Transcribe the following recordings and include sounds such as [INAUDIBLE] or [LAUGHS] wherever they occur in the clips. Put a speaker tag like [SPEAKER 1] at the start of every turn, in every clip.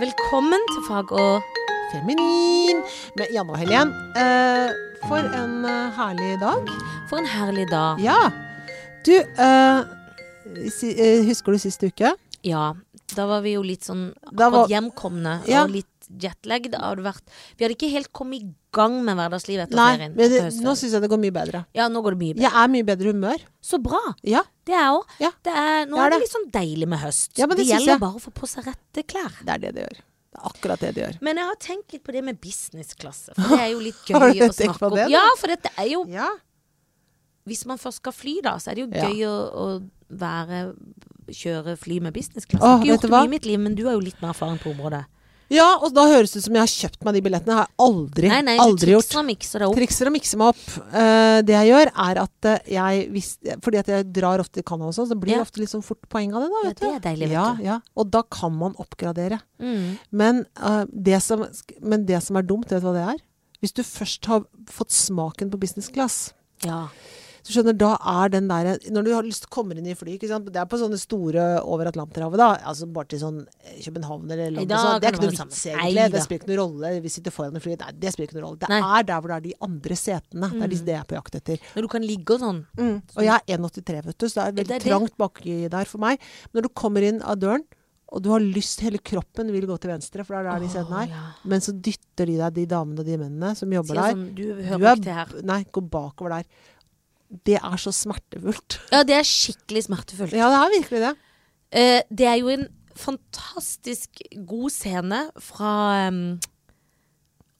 [SPEAKER 1] Velkommen til Fag og
[SPEAKER 2] Feminin med Janne og Helen. Eh, for en eh, herlig dag.
[SPEAKER 1] for en herlig dag.
[SPEAKER 2] Ja. Du, eh, si, eh, husker du sist uke?
[SPEAKER 1] Ja, da var vi jo litt sånn
[SPEAKER 2] Da var-
[SPEAKER 1] akkurat hjemkomne
[SPEAKER 2] Ja.
[SPEAKER 1] og litt jetlagged. Hadde vært. Vi hadde ikke helt kommet i gang med hverdagslivet etter
[SPEAKER 2] Nei,
[SPEAKER 1] ferien.
[SPEAKER 2] men det,
[SPEAKER 1] etter høstferien.
[SPEAKER 2] nå syns jeg det går mye bedre.
[SPEAKER 1] ja, nå går det mye bedre.
[SPEAKER 2] Jeg er mye bedre humør.
[SPEAKER 1] Så bra!
[SPEAKER 2] Ja.
[SPEAKER 1] Det er òg.
[SPEAKER 2] Ja.
[SPEAKER 1] Det er, nå
[SPEAKER 2] Det er
[SPEAKER 1] er det
[SPEAKER 2] det.
[SPEAKER 1] liksom deilig med høst.
[SPEAKER 2] Ja, men det synes
[SPEAKER 1] gjelder
[SPEAKER 2] jeg.
[SPEAKER 1] bare å få på seg rette klær.
[SPEAKER 2] Det er det det gjør. Det er akkurat det det gjør.
[SPEAKER 1] Men jeg har tenkt litt på det med businessklasse. For det er jo litt gøy
[SPEAKER 2] [LAUGHS] Har du
[SPEAKER 1] å
[SPEAKER 2] tenkt
[SPEAKER 1] snakke
[SPEAKER 2] på
[SPEAKER 1] om.
[SPEAKER 2] det, da?
[SPEAKER 1] Ja, for dette er jo
[SPEAKER 2] Ja.
[SPEAKER 1] Hvis man først skal fly, da, så er det jo
[SPEAKER 2] Ja.
[SPEAKER 1] gøy å, å være Kjøre fly med businessklasse. Jeg
[SPEAKER 2] Åh,
[SPEAKER 1] har ikke gjort
[SPEAKER 2] vet du
[SPEAKER 1] det mye
[SPEAKER 2] hva?
[SPEAKER 1] i mitt liv, men du har jo litt mer erfaring på området.
[SPEAKER 2] ja, og da høres det ut som jeg har kjøpt meg de billettene. har jeg aldri,
[SPEAKER 1] Nei, nei, du
[SPEAKER 2] aldri gjort.
[SPEAKER 1] trikser og mikser deg opp.
[SPEAKER 2] Trikser og mikser meg opp. Eh, det jeg gjør, er at eh, jeg hvis, Fordi at jeg drar ofte til Canada og sånn, så blir
[SPEAKER 1] Ja.
[SPEAKER 2] det ofte litt sånn fort poeng av det, da.
[SPEAKER 1] Ja,
[SPEAKER 2] Vet du.
[SPEAKER 1] det er deilig, vet
[SPEAKER 2] ja,
[SPEAKER 1] du.
[SPEAKER 2] Ja. Og da kan man oppgradere.
[SPEAKER 1] Mm.
[SPEAKER 2] Men, eh, det som, men det som er dumt, vet du hva det er? Hvis du først har fått smaken på business class,
[SPEAKER 1] Ja.
[SPEAKER 2] så skjønner da er den der, Når du har lyst kommer inn i fly ikke sant? Det er på sånne store over Atlanterhavet, da. Altså bare til sånn eh, København eller
[SPEAKER 1] Nei,
[SPEAKER 2] London.
[SPEAKER 1] da
[SPEAKER 2] sånn.
[SPEAKER 1] kan
[SPEAKER 2] Det er
[SPEAKER 1] det
[SPEAKER 2] ikke noe
[SPEAKER 1] være
[SPEAKER 2] vits,
[SPEAKER 1] sammen.
[SPEAKER 2] egentlig.
[SPEAKER 1] Nei da.
[SPEAKER 2] det spiller ikke noen rolle. Vi sitter foran i flyet. Nei, det spiller ikke noen rolle. Det
[SPEAKER 1] Nei. Mm.
[SPEAKER 2] er der hvor det er de andre setene. Det er de det jeg er på jakt etter.
[SPEAKER 1] Når du kan ligge og sånn.
[SPEAKER 2] Og jeg er 1,83, vet du, så det er veldig
[SPEAKER 1] Det er det.
[SPEAKER 2] trangt baki der for meg. Men når du kommer inn av døren, og du har lyst Hele kroppen vil gå til venstre, for det er der de setene
[SPEAKER 1] Åh,
[SPEAKER 2] er.
[SPEAKER 1] ja.
[SPEAKER 2] Men så dytter de deg, de damene og de mennene som jobber
[SPEAKER 1] Sier
[SPEAKER 2] der.
[SPEAKER 1] sånn, du
[SPEAKER 2] Du
[SPEAKER 1] hører
[SPEAKER 2] er-
[SPEAKER 1] ikke til her.
[SPEAKER 2] Nei, gå bakover der. Det er så smertefullt.
[SPEAKER 1] Ja, det er skikkelig smertefullt.
[SPEAKER 2] [LAUGHS] Ja, det er virkelig det.
[SPEAKER 1] Eh, det er jo en fantastisk god scene fra um,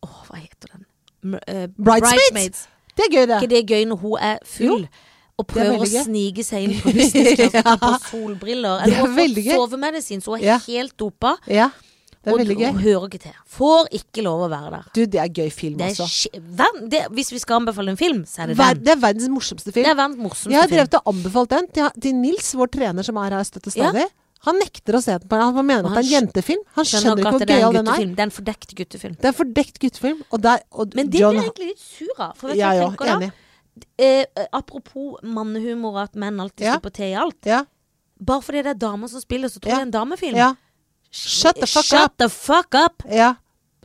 [SPEAKER 1] Å, hva heter den? Mer- eh,
[SPEAKER 2] Bridesmaids? Det er gøy, det.
[SPEAKER 1] ikke det gøy når hun er full? Og
[SPEAKER 2] det er
[SPEAKER 1] prøver å
[SPEAKER 2] veldig gøy.
[SPEAKER 1] snike seg [LAUGHS] inn på businessklassen og ta på solbriller.
[SPEAKER 2] Det
[SPEAKER 1] Eller
[SPEAKER 2] er
[SPEAKER 1] hun har
[SPEAKER 2] veldig
[SPEAKER 1] fått
[SPEAKER 2] gøy.
[SPEAKER 1] sovemedisin, så hun er
[SPEAKER 2] Ja.
[SPEAKER 1] helt dopa.
[SPEAKER 2] Ja, det er
[SPEAKER 1] Og
[SPEAKER 2] veldig
[SPEAKER 1] hun
[SPEAKER 2] gøy.
[SPEAKER 1] hører ikke til. Får ikke lov å være der.
[SPEAKER 2] Du, det er gøy film,
[SPEAKER 1] Det er
[SPEAKER 2] altså.
[SPEAKER 1] skje- hvem, det, hvis vi skal anbefale en film, så er det
[SPEAKER 2] Ver
[SPEAKER 1] den.
[SPEAKER 2] det er verdens morsomste
[SPEAKER 1] Det
[SPEAKER 2] film.
[SPEAKER 1] er verdens morsomste
[SPEAKER 2] Jeg har
[SPEAKER 1] film.
[SPEAKER 2] drevet og anbefalt den til, til Nils, vår trener som er her støtt og stadig. Han nekter å se den på den. Han mener
[SPEAKER 1] Og
[SPEAKER 2] at det er en
[SPEAKER 1] han
[SPEAKER 2] jentefilm.
[SPEAKER 1] Skjønner
[SPEAKER 2] Han skjønner
[SPEAKER 1] ikke
[SPEAKER 2] ikke
[SPEAKER 1] at
[SPEAKER 2] hvor
[SPEAKER 1] det er en
[SPEAKER 2] gøyal den er.
[SPEAKER 1] guttefilm. Det er en fordekt guttefilm.
[SPEAKER 2] Det er en fordekt guttefilm. Og der, og
[SPEAKER 1] Men det
[SPEAKER 2] John
[SPEAKER 1] blir jeg egentlig litt sur av. For vet du hva
[SPEAKER 2] Jeg
[SPEAKER 1] jeg
[SPEAKER 2] òg.
[SPEAKER 1] tenker da?
[SPEAKER 2] Enig.
[SPEAKER 1] Eh, eh, apropos mannehumor og at menn alltid
[SPEAKER 2] Ja.
[SPEAKER 1] slipper til i alt.
[SPEAKER 2] Ja.
[SPEAKER 1] Bare fordi det er damer som spiller, så tror jeg
[SPEAKER 2] Ja.
[SPEAKER 1] det er en damefilm.
[SPEAKER 2] ja. Shut the fuck
[SPEAKER 1] Shut
[SPEAKER 2] up.
[SPEAKER 1] the fuck up!
[SPEAKER 2] Ja.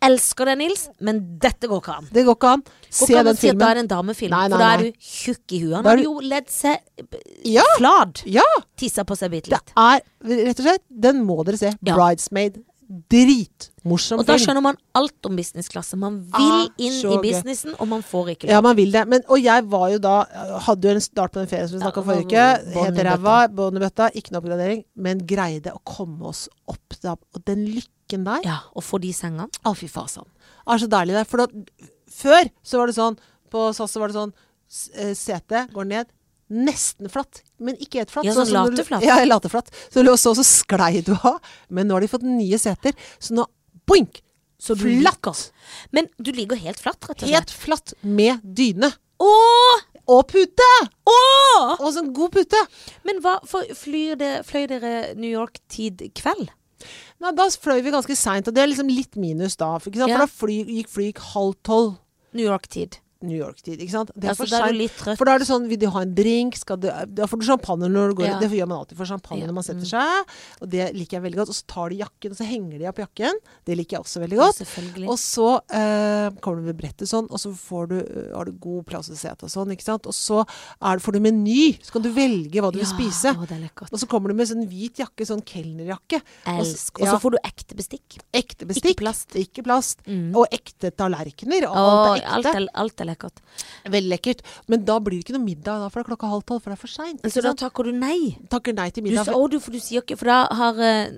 [SPEAKER 1] Elsker deg, Nils, men dette går ikke an.
[SPEAKER 2] Det går ikke an.
[SPEAKER 1] Går
[SPEAKER 2] Se
[SPEAKER 1] ikke an å
[SPEAKER 2] den
[SPEAKER 1] si at da er
[SPEAKER 2] filmen.
[SPEAKER 1] det en damefilm,
[SPEAKER 2] Nei, nei,
[SPEAKER 1] for da er
[SPEAKER 2] nei.
[SPEAKER 1] du tjukk i huet. Han
[SPEAKER 2] Da er
[SPEAKER 1] har
[SPEAKER 2] du-
[SPEAKER 1] jo ledd seg eh,
[SPEAKER 2] Ja.
[SPEAKER 1] flad.
[SPEAKER 2] Ja!
[SPEAKER 1] Tissa på seg bitte
[SPEAKER 2] Det
[SPEAKER 1] litt.
[SPEAKER 2] er rett og slett Den må dere se.
[SPEAKER 1] Ja.
[SPEAKER 2] Bridesmaid. Dritmorsom
[SPEAKER 1] Og da
[SPEAKER 2] film.
[SPEAKER 1] skjønner man alt om businessklasse. Man vil
[SPEAKER 2] Ah,
[SPEAKER 1] inn
[SPEAKER 2] så
[SPEAKER 1] i
[SPEAKER 2] gøy.
[SPEAKER 1] businessen, og man får ikke lov.
[SPEAKER 2] Ja, man vil det. Men, og jeg var jo da Hadde jo en start på den ferien som vi snakka om
[SPEAKER 1] Ja,
[SPEAKER 2] forrige uke.
[SPEAKER 1] bånd i
[SPEAKER 2] Helt ræva, bånd i bøtta, ikke noe oppgradering. Men greide å komme oss opp da. Og den lykken der
[SPEAKER 1] Ja, og få de sengene.
[SPEAKER 2] Å, fy fasan. Det er så deilig der. For da, før så var det sånn På SAS så var det sånn s- eh, Setet går ned. Nesten flatt, men ikke helt flatt.
[SPEAKER 1] Ja,
[SPEAKER 2] Sånn
[SPEAKER 1] sånn
[SPEAKER 2] som når du-
[SPEAKER 1] lateflatt.
[SPEAKER 2] Ja, lateflatt. Så lå så, så sklei du av. Men nå har de fått nye seter, så nå boink!
[SPEAKER 1] Så du
[SPEAKER 2] flatt.
[SPEAKER 1] Men du ligger helt flatt, rett og
[SPEAKER 2] Helt
[SPEAKER 1] slett.
[SPEAKER 2] flatt med dyne.
[SPEAKER 1] Åh!
[SPEAKER 2] Og pute!
[SPEAKER 1] Åh!
[SPEAKER 2] Og sånn god pute.
[SPEAKER 1] Men hva, for, flyr det, fløy dere New York-tid kveld?
[SPEAKER 2] Nei, da fløy vi ganske seint, og det er liksom litt minus da. For, ikke sant?
[SPEAKER 1] Ja.
[SPEAKER 2] for da fly, gikk flyet halv tolv
[SPEAKER 1] New York-tid.
[SPEAKER 2] New York-tid. ikke sant? Det
[SPEAKER 1] Ja,
[SPEAKER 2] for
[SPEAKER 1] så da er du
[SPEAKER 2] sent.
[SPEAKER 1] litt trøtt.
[SPEAKER 2] For da er det sånn, vil du ha en drink? Skal du, da får du champagne når du går
[SPEAKER 1] Ja.
[SPEAKER 2] Det gjør man alltid. Får champagne
[SPEAKER 1] Ja, Mm.
[SPEAKER 2] når man setter seg. Og det liker jeg veldig godt. Og så tar de jakken, og så henger de opp jakken. Det liker jeg også veldig godt.
[SPEAKER 1] Selvfølgelig.
[SPEAKER 2] Og så eh, kommer du ved brettet sånn, og så får du, har du god plass til sete og sånn. ikke sant? Og så er det, får du meny, så kan du velge hva du vil spise.
[SPEAKER 1] Ja, å, det er lekkert.
[SPEAKER 2] Og så kommer du med sånn hvit jakke, sånn kelnerjakke. Og s-
[SPEAKER 1] Elsk. Og så
[SPEAKER 2] ja.
[SPEAKER 1] får du ekte bestikk.
[SPEAKER 2] Ekte bestikk.
[SPEAKER 1] Ikke plast. Mm.
[SPEAKER 2] Ikke plast. Og ekte tallerkener.
[SPEAKER 1] Åh,
[SPEAKER 2] Og alt er ekte.
[SPEAKER 1] alt, er, alt er lekkert.
[SPEAKER 2] Veldig lekkert. Men da blir det ikke noe middag, da, for det er klokka halv tolv, for det er for seint.
[SPEAKER 1] Så da takker du nei?
[SPEAKER 2] Takker nei til
[SPEAKER 1] Du,
[SPEAKER 2] middag.
[SPEAKER 1] sa-
[SPEAKER 2] For,
[SPEAKER 1] å, du, for du sier ikke For da har eh,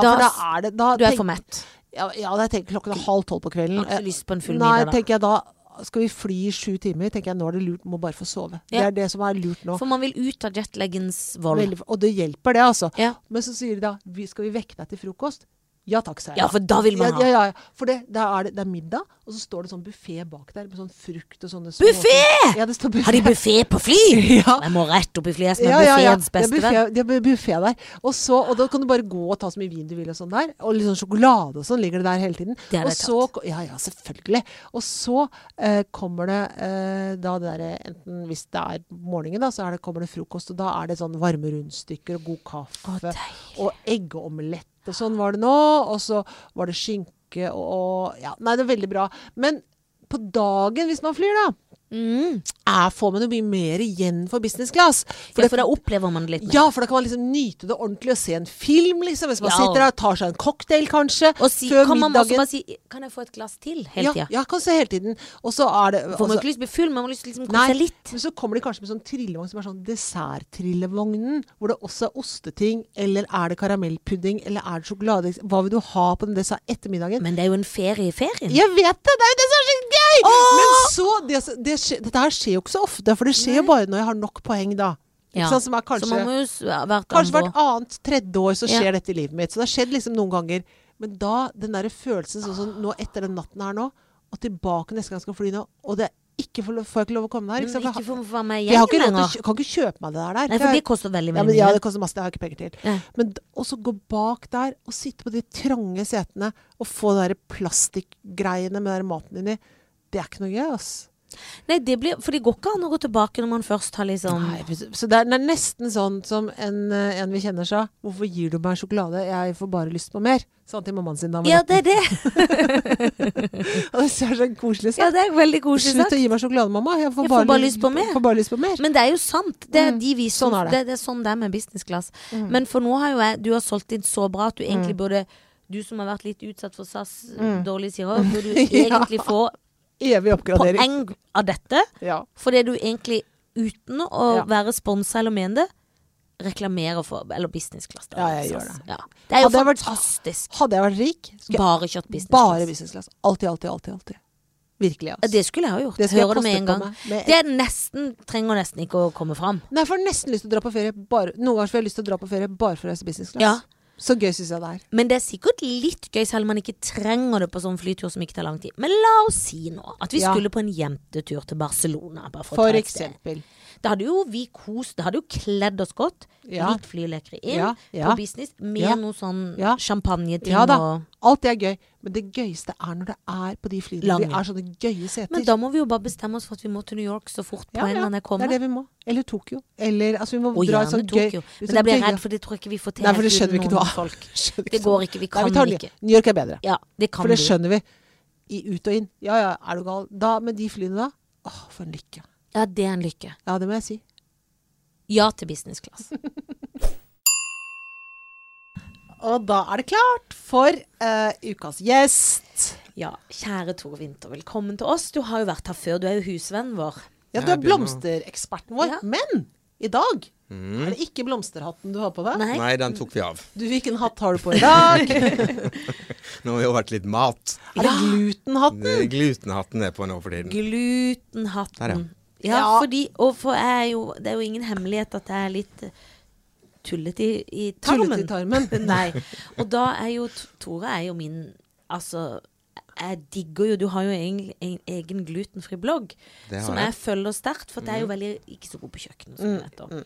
[SPEAKER 1] da-
[SPEAKER 2] for da er det da
[SPEAKER 1] Du er
[SPEAKER 2] tenk-
[SPEAKER 1] for mett.
[SPEAKER 2] Ja, ja, da tenker jeg klokken er halv tolv på
[SPEAKER 1] Har
[SPEAKER 2] kvelden.
[SPEAKER 1] ikke så lyst på en full
[SPEAKER 2] nei,
[SPEAKER 1] middag, da.
[SPEAKER 2] tenker jeg da skal vi fly i sju timer? Tenker jeg Nå er det lurt, må bare få sove. Det
[SPEAKER 1] Ja.
[SPEAKER 2] er det som er lurt nå.
[SPEAKER 1] For man vil ut av jetlaggens vold.
[SPEAKER 2] Veldig, og det hjelper, det, altså.
[SPEAKER 1] Ja.
[SPEAKER 2] Men så sier de da vi, Skal vi vekke deg til frokost? Ja takk, sa jeg.
[SPEAKER 1] ja, for da vil man
[SPEAKER 2] ja,
[SPEAKER 1] ha.
[SPEAKER 2] ja, ja, ja. For det, da er det, det er middag, og Og så står det sånn buffé bak der med sånn frukt og sånne
[SPEAKER 1] Buffet!
[SPEAKER 2] Ja, det står buffé.
[SPEAKER 1] Har
[SPEAKER 2] [LAUGHS]
[SPEAKER 1] de buffé på fly?
[SPEAKER 2] Ja.
[SPEAKER 1] Jeg må rett opp i flyet som er
[SPEAKER 2] Ja, ja, ja.
[SPEAKER 1] buffeens
[SPEAKER 2] Det er
[SPEAKER 1] beste venn.
[SPEAKER 2] buffé- det er buffé der. Og, så, og da kan du bare gå og ta så mye vin du vil og sånn der. Og litt sånn sjokolade og sånn ligger det der hele tiden.
[SPEAKER 1] Det er
[SPEAKER 2] og
[SPEAKER 1] det
[SPEAKER 2] så, ja, ja, selvfølgelig. Og så eh, kommer det eh, da det derre enten hvis det er morgenen, da, så er det, kommer det frokost. Og da er det sånn varme rundstykker og god kaffe.
[SPEAKER 1] Å, deilig.
[SPEAKER 2] og eggeomelett og sånn var det nå. Og så var det skinke og, og Ja, nei, det er veldig bra. Men på dagen, hvis man flyr, da,
[SPEAKER 1] Mm.
[SPEAKER 2] er, får man jo mye mer igjen for business class.
[SPEAKER 1] For, ja, for da opplever man det litt mer.
[SPEAKER 2] Ja, for da kan man liksom nyte det ordentlig og se en film, liksom. Hvis man
[SPEAKER 1] Ja.
[SPEAKER 2] sitter der og tar seg en cocktail, kanskje.
[SPEAKER 1] Og si,
[SPEAKER 2] før
[SPEAKER 1] kan man også
[SPEAKER 2] middagen.
[SPEAKER 1] bare si 'kan jeg få et glass til?' hele
[SPEAKER 2] ja,
[SPEAKER 1] tida.
[SPEAKER 2] ja, kan se hele tiden. Og så er det
[SPEAKER 1] For man har
[SPEAKER 2] altså-
[SPEAKER 1] ikke lyst til å bli full, man har lyst til å liksom kose
[SPEAKER 2] Nei,
[SPEAKER 1] seg litt.
[SPEAKER 2] men så kommer de kanskje med sånn trillevogn som er sånn desserttrillevognen, hvor det også er osteting, eller er det karamellpudding, eller er det sjokolade? Hva vil du ha på den dessert ettermiddagen?
[SPEAKER 1] Men det er jo en ferie i ferien.
[SPEAKER 2] Jeg vet det! Det er jo det som er så gøy! Men så det, det skje, Dette her skjer jo ikke så ofte, for det skjer jo bare når jeg har nok poeng, da. Ikke
[SPEAKER 1] Ja.
[SPEAKER 2] sant, som er kanskje
[SPEAKER 1] så man må jo s- hvert
[SPEAKER 2] Kanskje
[SPEAKER 1] andre år.
[SPEAKER 2] hvert annet tredje år så skjer
[SPEAKER 1] Ja.
[SPEAKER 2] dette i livet mitt. Så det har skjedd liksom noen ganger. Men da, den der følelsen sånn som nå etter den natten her nå, og tilbake neste gang jeg skal fly nå, og det er ikke for, lov- får jeg ikke lov å komme her. Ikke sant?
[SPEAKER 1] Mm, Ikke
[SPEAKER 2] For
[SPEAKER 1] for å være med
[SPEAKER 2] jeg, har- jeg har
[SPEAKER 1] igjen
[SPEAKER 2] ikke råd til å
[SPEAKER 1] lenger.
[SPEAKER 2] kjø- kan ikke kjøpe meg det der. der.
[SPEAKER 1] Nei, for
[SPEAKER 2] Jeg-
[SPEAKER 1] det koster veldig,
[SPEAKER 2] ja,
[SPEAKER 1] veldig
[SPEAKER 2] men, ja,
[SPEAKER 1] mye.
[SPEAKER 2] det koster masse. Det har jeg ikke penger til.
[SPEAKER 1] Ja.
[SPEAKER 2] Men d- og så gå bak der og sitte på de trange setene og få de der plastikkgreiene med den der maten inni. Det er ikke noe gøy, ass.
[SPEAKER 1] Nei, det blir, for det går ikke an å gå tilbake når man først har liksom
[SPEAKER 2] Nei, hvis- så det er, det er nesten sånn som en, eh, en vi kjenner sa. Hvorfor gir du meg sjokolade? Jeg får bare lyst på mer. Sa han til mammaen sin da. han var
[SPEAKER 1] Ja,
[SPEAKER 2] liten.
[SPEAKER 1] det er det.
[SPEAKER 2] Og [LAUGHS] det er så koselig
[SPEAKER 1] Ja,
[SPEAKER 2] sagt.
[SPEAKER 1] det er veldig koselig
[SPEAKER 2] Slutt
[SPEAKER 1] sagt.
[SPEAKER 2] å gi meg sjokolade, mamma. Jeg får,
[SPEAKER 1] Jeg
[SPEAKER 2] bare, lyst på
[SPEAKER 1] mer.
[SPEAKER 2] får bare lyst på mer.
[SPEAKER 1] Men det er jo sant. Det er, de viser,
[SPEAKER 2] Sånn
[SPEAKER 1] sånn
[SPEAKER 2] er det. Mm.
[SPEAKER 1] det. Det, er sånn det er med business class. Men for nå har jo jeg Du har solgt inn så bra at du egentlig burde Du som har vært litt utsatt for SAS dårlig sirup,
[SPEAKER 2] [LAUGHS]
[SPEAKER 1] burde du
[SPEAKER 2] Mm. Ja.
[SPEAKER 1] egentlig få
[SPEAKER 2] Evig oppgradering.
[SPEAKER 1] poeng av dette.
[SPEAKER 2] Ja.
[SPEAKER 1] For det du egentlig, uten å
[SPEAKER 2] Ja.
[SPEAKER 1] være sponsa eller mene det, reklamerer for Eller business class. da,
[SPEAKER 2] Ja,
[SPEAKER 1] SAS.
[SPEAKER 2] jeg gjør det.
[SPEAKER 1] Ja. Det er jo
[SPEAKER 2] Hadde jeg vært-
[SPEAKER 1] fantastisk.
[SPEAKER 2] Hadde jeg vært rik, skulle
[SPEAKER 1] Bare kjørt
[SPEAKER 2] jeg
[SPEAKER 1] business
[SPEAKER 2] bare
[SPEAKER 1] class.
[SPEAKER 2] business class. Alltid, alltid, alltid. alltid. Virkelig,
[SPEAKER 1] Ja,
[SPEAKER 2] altså.
[SPEAKER 1] Det skulle jeg ha gjort.
[SPEAKER 2] Det skulle jeg
[SPEAKER 1] Hører det med
[SPEAKER 2] kostet
[SPEAKER 1] en gang.
[SPEAKER 2] på meg med
[SPEAKER 1] Det er nesten, trenger nesten ikke å komme fram.
[SPEAKER 2] Nei, jeg får nesten lyst til å dra på ferie bare, Noen ganger får jeg lyst til å dra på ferie bare for å reise business class.
[SPEAKER 1] Ja.
[SPEAKER 2] Så gøy syns jeg det er.
[SPEAKER 1] Men det er sikkert litt gøy, selv om man ikke trenger det på sånn flytur som ikke tar lang tid. Men la oss si nå at vi
[SPEAKER 2] Ja.
[SPEAKER 1] skulle på en jentetur til Barcelona. Bare for å
[SPEAKER 2] For
[SPEAKER 1] ta et sted.
[SPEAKER 2] eksempel.
[SPEAKER 1] Da hadde jo vi kost, da hadde jo kledd oss godt.
[SPEAKER 2] Ja.
[SPEAKER 1] Litt flyleker inn
[SPEAKER 2] Ja, ja.
[SPEAKER 1] på business med
[SPEAKER 2] Ja.
[SPEAKER 1] noe sånn
[SPEAKER 2] Ja.
[SPEAKER 1] champagneting
[SPEAKER 2] Ja da.
[SPEAKER 1] og
[SPEAKER 2] Alt det er gøy. Men det gøyeste er når det er på de flyene. hvor Det
[SPEAKER 1] Lange.
[SPEAKER 2] er sånne gøye seter.
[SPEAKER 1] Men da må vi jo bare bestemme oss for at vi må til New York så fort på en eller annen jeg
[SPEAKER 2] Det
[SPEAKER 1] kommer.
[SPEAKER 2] er det vi må. Eller Tokyo. Eller altså, vi må
[SPEAKER 1] og
[SPEAKER 2] dra et
[SPEAKER 1] gjerne
[SPEAKER 2] sånt gøy
[SPEAKER 1] Tokyo.
[SPEAKER 2] et
[SPEAKER 1] Men der blir jeg
[SPEAKER 2] sånt gøy-
[SPEAKER 1] redd, for det tror jeg ikke vi får til
[SPEAKER 2] Nei, for det
[SPEAKER 1] helt
[SPEAKER 2] skjønner vi
[SPEAKER 1] uten
[SPEAKER 2] ikke
[SPEAKER 1] noen
[SPEAKER 2] noe av.
[SPEAKER 1] folk.
[SPEAKER 2] [LAUGHS] Skjønner
[SPEAKER 1] Det
[SPEAKER 2] ikke
[SPEAKER 1] går
[SPEAKER 2] sånn.
[SPEAKER 1] ikke. Vi
[SPEAKER 2] Nei,
[SPEAKER 1] kan
[SPEAKER 2] tar New-
[SPEAKER 1] ikke.
[SPEAKER 2] New York er bedre.
[SPEAKER 1] Ja, det kan
[SPEAKER 2] For det
[SPEAKER 1] vi.
[SPEAKER 2] skjønner vi. I ut og inn. Ja ja, er du gal. Da, med de flyene da. Åh, for en lykke.
[SPEAKER 1] Ja, det er en lykke.
[SPEAKER 2] Ja, det må jeg si.
[SPEAKER 1] Ja til business class.
[SPEAKER 2] Og da er det klart for eh, ukas gjest.
[SPEAKER 1] [LAUGHS] Ja, kjære Tor Winther, velkommen til oss. Du har jo vært her før, du er jo husvennen vår.
[SPEAKER 2] Ja, du
[SPEAKER 3] Jeg
[SPEAKER 2] er
[SPEAKER 3] begynner å-
[SPEAKER 2] blomstereksperten vår.
[SPEAKER 1] Ja.
[SPEAKER 2] Men i dag
[SPEAKER 3] Mm.
[SPEAKER 2] er det ikke blomsterhatten du har på deg.
[SPEAKER 1] Nei,
[SPEAKER 3] Nei, den tok vi av.
[SPEAKER 2] Du, Hvilken hatt har du på i
[SPEAKER 1] [LAUGHS]
[SPEAKER 2] dag?
[SPEAKER 3] Nå har det jo vært litt mat.
[SPEAKER 2] Er det glutenhatten?
[SPEAKER 3] Det er Glutenhatten er på nå for tiden. Der,
[SPEAKER 1] glutenhatten. Ja,
[SPEAKER 2] Ja.
[SPEAKER 1] fordi Og for jeg er jo Det er jo ingen hemmelighet at jeg er litt eh, tullete i, i tarmen.
[SPEAKER 2] Tullet i tarmen.
[SPEAKER 1] [LAUGHS] Nei. Og da er jo T- Tore er jo min Altså, jeg digger jo Du har jo egentlig en egen glutenfri blogg
[SPEAKER 3] Det har
[SPEAKER 1] som
[SPEAKER 3] jeg. Mm.
[SPEAKER 1] jeg følger sterkt, for jeg er jo veldig ikke så god på kjøkkenet, som du vet. da.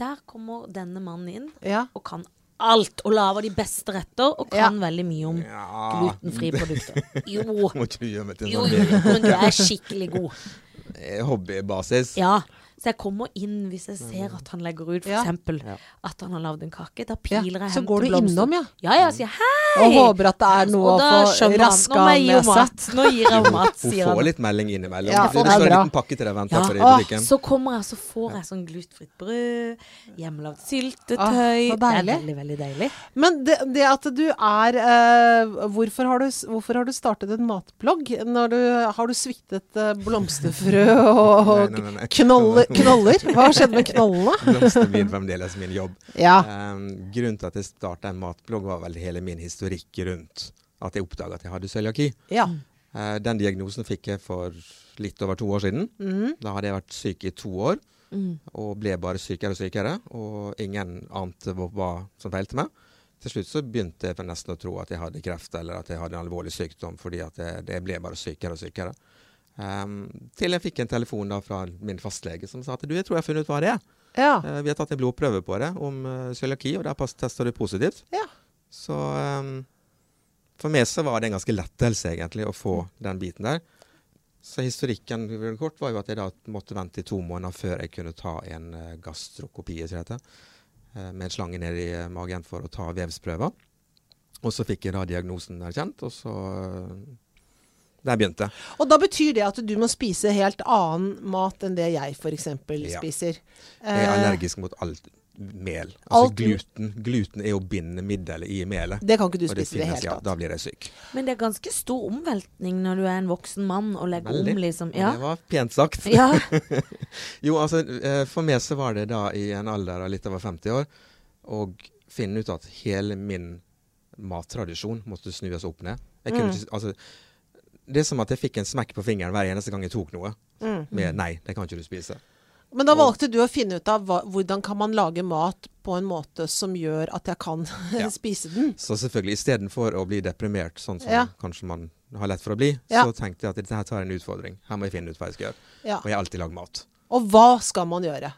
[SPEAKER 1] Der kommer denne mannen inn
[SPEAKER 2] Ja.
[SPEAKER 1] og kan alt, og lager de beste retter, og
[SPEAKER 2] Ja.
[SPEAKER 1] kan veldig mye om
[SPEAKER 3] Ja.
[SPEAKER 1] glutenfrie
[SPEAKER 2] [LAUGHS]
[SPEAKER 1] produkter. Jo.
[SPEAKER 3] Må ikke du gjøre meg til
[SPEAKER 1] Jo,
[SPEAKER 3] en
[SPEAKER 1] jo,
[SPEAKER 3] sånn
[SPEAKER 1] jo, men du er skikkelig god.
[SPEAKER 3] eh, hobbybasis.
[SPEAKER 1] Ja. Så jeg kommer inn hvis jeg ser at han legger ut
[SPEAKER 2] Ja.
[SPEAKER 1] f.eks. eksempel at han har lagd en kake. Da
[SPEAKER 2] Ja,
[SPEAKER 1] piler jeg
[SPEAKER 2] så
[SPEAKER 1] hen
[SPEAKER 2] går
[SPEAKER 1] til
[SPEAKER 2] du
[SPEAKER 1] blomster.
[SPEAKER 2] innom, ja.
[SPEAKER 1] Ja, ja, sier hei.
[SPEAKER 2] Og håper at det er noe å
[SPEAKER 1] Og da
[SPEAKER 2] få
[SPEAKER 1] skjønner han,
[SPEAKER 2] raska
[SPEAKER 1] nå må jeg gi
[SPEAKER 2] med
[SPEAKER 1] henne
[SPEAKER 2] seg.
[SPEAKER 1] mat. Nå gir jeg henne mat,
[SPEAKER 3] Hun
[SPEAKER 1] sier
[SPEAKER 3] får
[SPEAKER 1] han.
[SPEAKER 3] litt melding innimellom.
[SPEAKER 2] Ja,
[SPEAKER 3] Du, det
[SPEAKER 2] det er
[SPEAKER 3] står en
[SPEAKER 2] bra.
[SPEAKER 3] liten pakke til deg og venter
[SPEAKER 1] Ja.
[SPEAKER 3] for deg i
[SPEAKER 2] Åh,
[SPEAKER 3] butikken.
[SPEAKER 1] Så kommer jeg, så får jeg sånn glutfritt brød, hjemmelagd syltetøy.
[SPEAKER 2] Ah, så
[SPEAKER 1] det er
[SPEAKER 2] deilig.
[SPEAKER 1] veldig, veldig deilig.
[SPEAKER 2] Men det, det at du er eh, hvorfor, har du, s- hvorfor har du startet en matblogg? Når du, har du sviktet eh,
[SPEAKER 3] [LAUGHS]
[SPEAKER 2] blomsterfrø og, og
[SPEAKER 3] Nei, nei, nei, nei.
[SPEAKER 2] knolle- knoller? Hva skjedde med
[SPEAKER 3] [LAUGHS]
[SPEAKER 2] knollene?
[SPEAKER 3] Blomster blir fremdeles min jobb.
[SPEAKER 2] Ja.
[SPEAKER 3] Ehm, grunnen til at jeg starta en matblogg, var vel hele min historikk rundt at jeg oppdaga at jeg hadde cøliaki.
[SPEAKER 2] ja.
[SPEAKER 3] Eh, Den diagnosen fikk jeg for litt over to år siden. Da hadde jeg vært syk i to år, og ble bare sykere og sykere. Og ingen ante hva hva som feilte meg. Til slutt så begynte jeg nesten å tro at jeg hadde kreft eller at jeg hadde en alvorlig sykdom, fordi at jeg, jeg ble bare sykere og sykere. Ehm, til jeg fikk en telefon da fra min fastlege som sa at du, jeg tror jeg har funnet ut hva det er.
[SPEAKER 2] Ja.
[SPEAKER 3] Eh, vi har tatt en blodprøve på det om eh, cøliaki, og der pass- tester du positivt.
[SPEAKER 2] Ja.
[SPEAKER 3] Så ehm, for meg så var det en ganske lettelse egentlig å få
[SPEAKER 2] Mm.
[SPEAKER 3] den biten der. Så historikken kort var jo at jeg da måtte vente i to måneder før jeg kunne ta en eh, gastrokopi som det heter, eh, med en slange ned i eh, magen for å ta vevsprøver. Og så fikk jeg da diagnosen erkjent, og så eh, Der begynte jeg.
[SPEAKER 2] Og da betyr det at du må spise helt annen mat enn det jeg f.eks.
[SPEAKER 3] Ja.
[SPEAKER 2] spiser.
[SPEAKER 3] Jeg er
[SPEAKER 2] Eh,
[SPEAKER 3] allergisk mot alt mel. Altså
[SPEAKER 2] Alt-
[SPEAKER 3] gluten. Gluten er jo bindemiddelet i melet.
[SPEAKER 2] Eh, Det kan ikke du
[SPEAKER 3] Og det
[SPEAKER 2] spise i det
[SPEAKER 3] finnes,
[SPEAKER 2] hele
[SPEAKER 3] ja, da
[SPEAKER 2] tatt.
[SPEAKER 3] blir jeg syk.
[SPEAKER 1] Men det er ganske stor omveltning når du er en voksen mann og legger
[SPEAKER 3] Veldig.
[SPEAKER 1] om, liksom.
[SPEAKER 3] Og
[SPEAKER 1] Ja.
[SPEAKER 3] Det var pent sagt.
[SPEAKER 1] ja.
[SPEAKER 3] Jo, altså, eh, for meg så var det da i en alder av litt over 50 år å finne ut at hele min mattradisjon måtte snues opp ned. Jeg kunne
[SPEAKER 2] Mm.
[SPEAKER 3] ikke, altså, det er som at jeg fikk en smekk på fingeren hver eneste gang jeg tok noe.
[SPEAKER 2] Mm.
[SPEAKER 3] Med 'nei, det kan ikke du spise'.
[SPEAKER 2] Men da valgte du å finne ut av hva, hvordan kan man lage mat på en måte som gjør at jeg kan
[SPEAKER 3] Ja.
[SPEAKER 2] [LAUGHS] spise den.
[SPEAKER 3] Så selvfølgelig, istedenfor å bli deprimert, sånn som
[SPEAKER 2] Ja.
[SPEAKER 3] kanskje man har lett for å bli,
[SPEAKER 2] Ja.
[SPEAKER 3] så tenkte jeg at dette her tar en utfordring. Her må jeg finne ut hva jeg skal gjøre.
[SPEAKER 2] Ja.
[SPEAKER 3] Og jeg har alltid lagd mat.
[SPEAKER 2] Og hva skal man gjøre?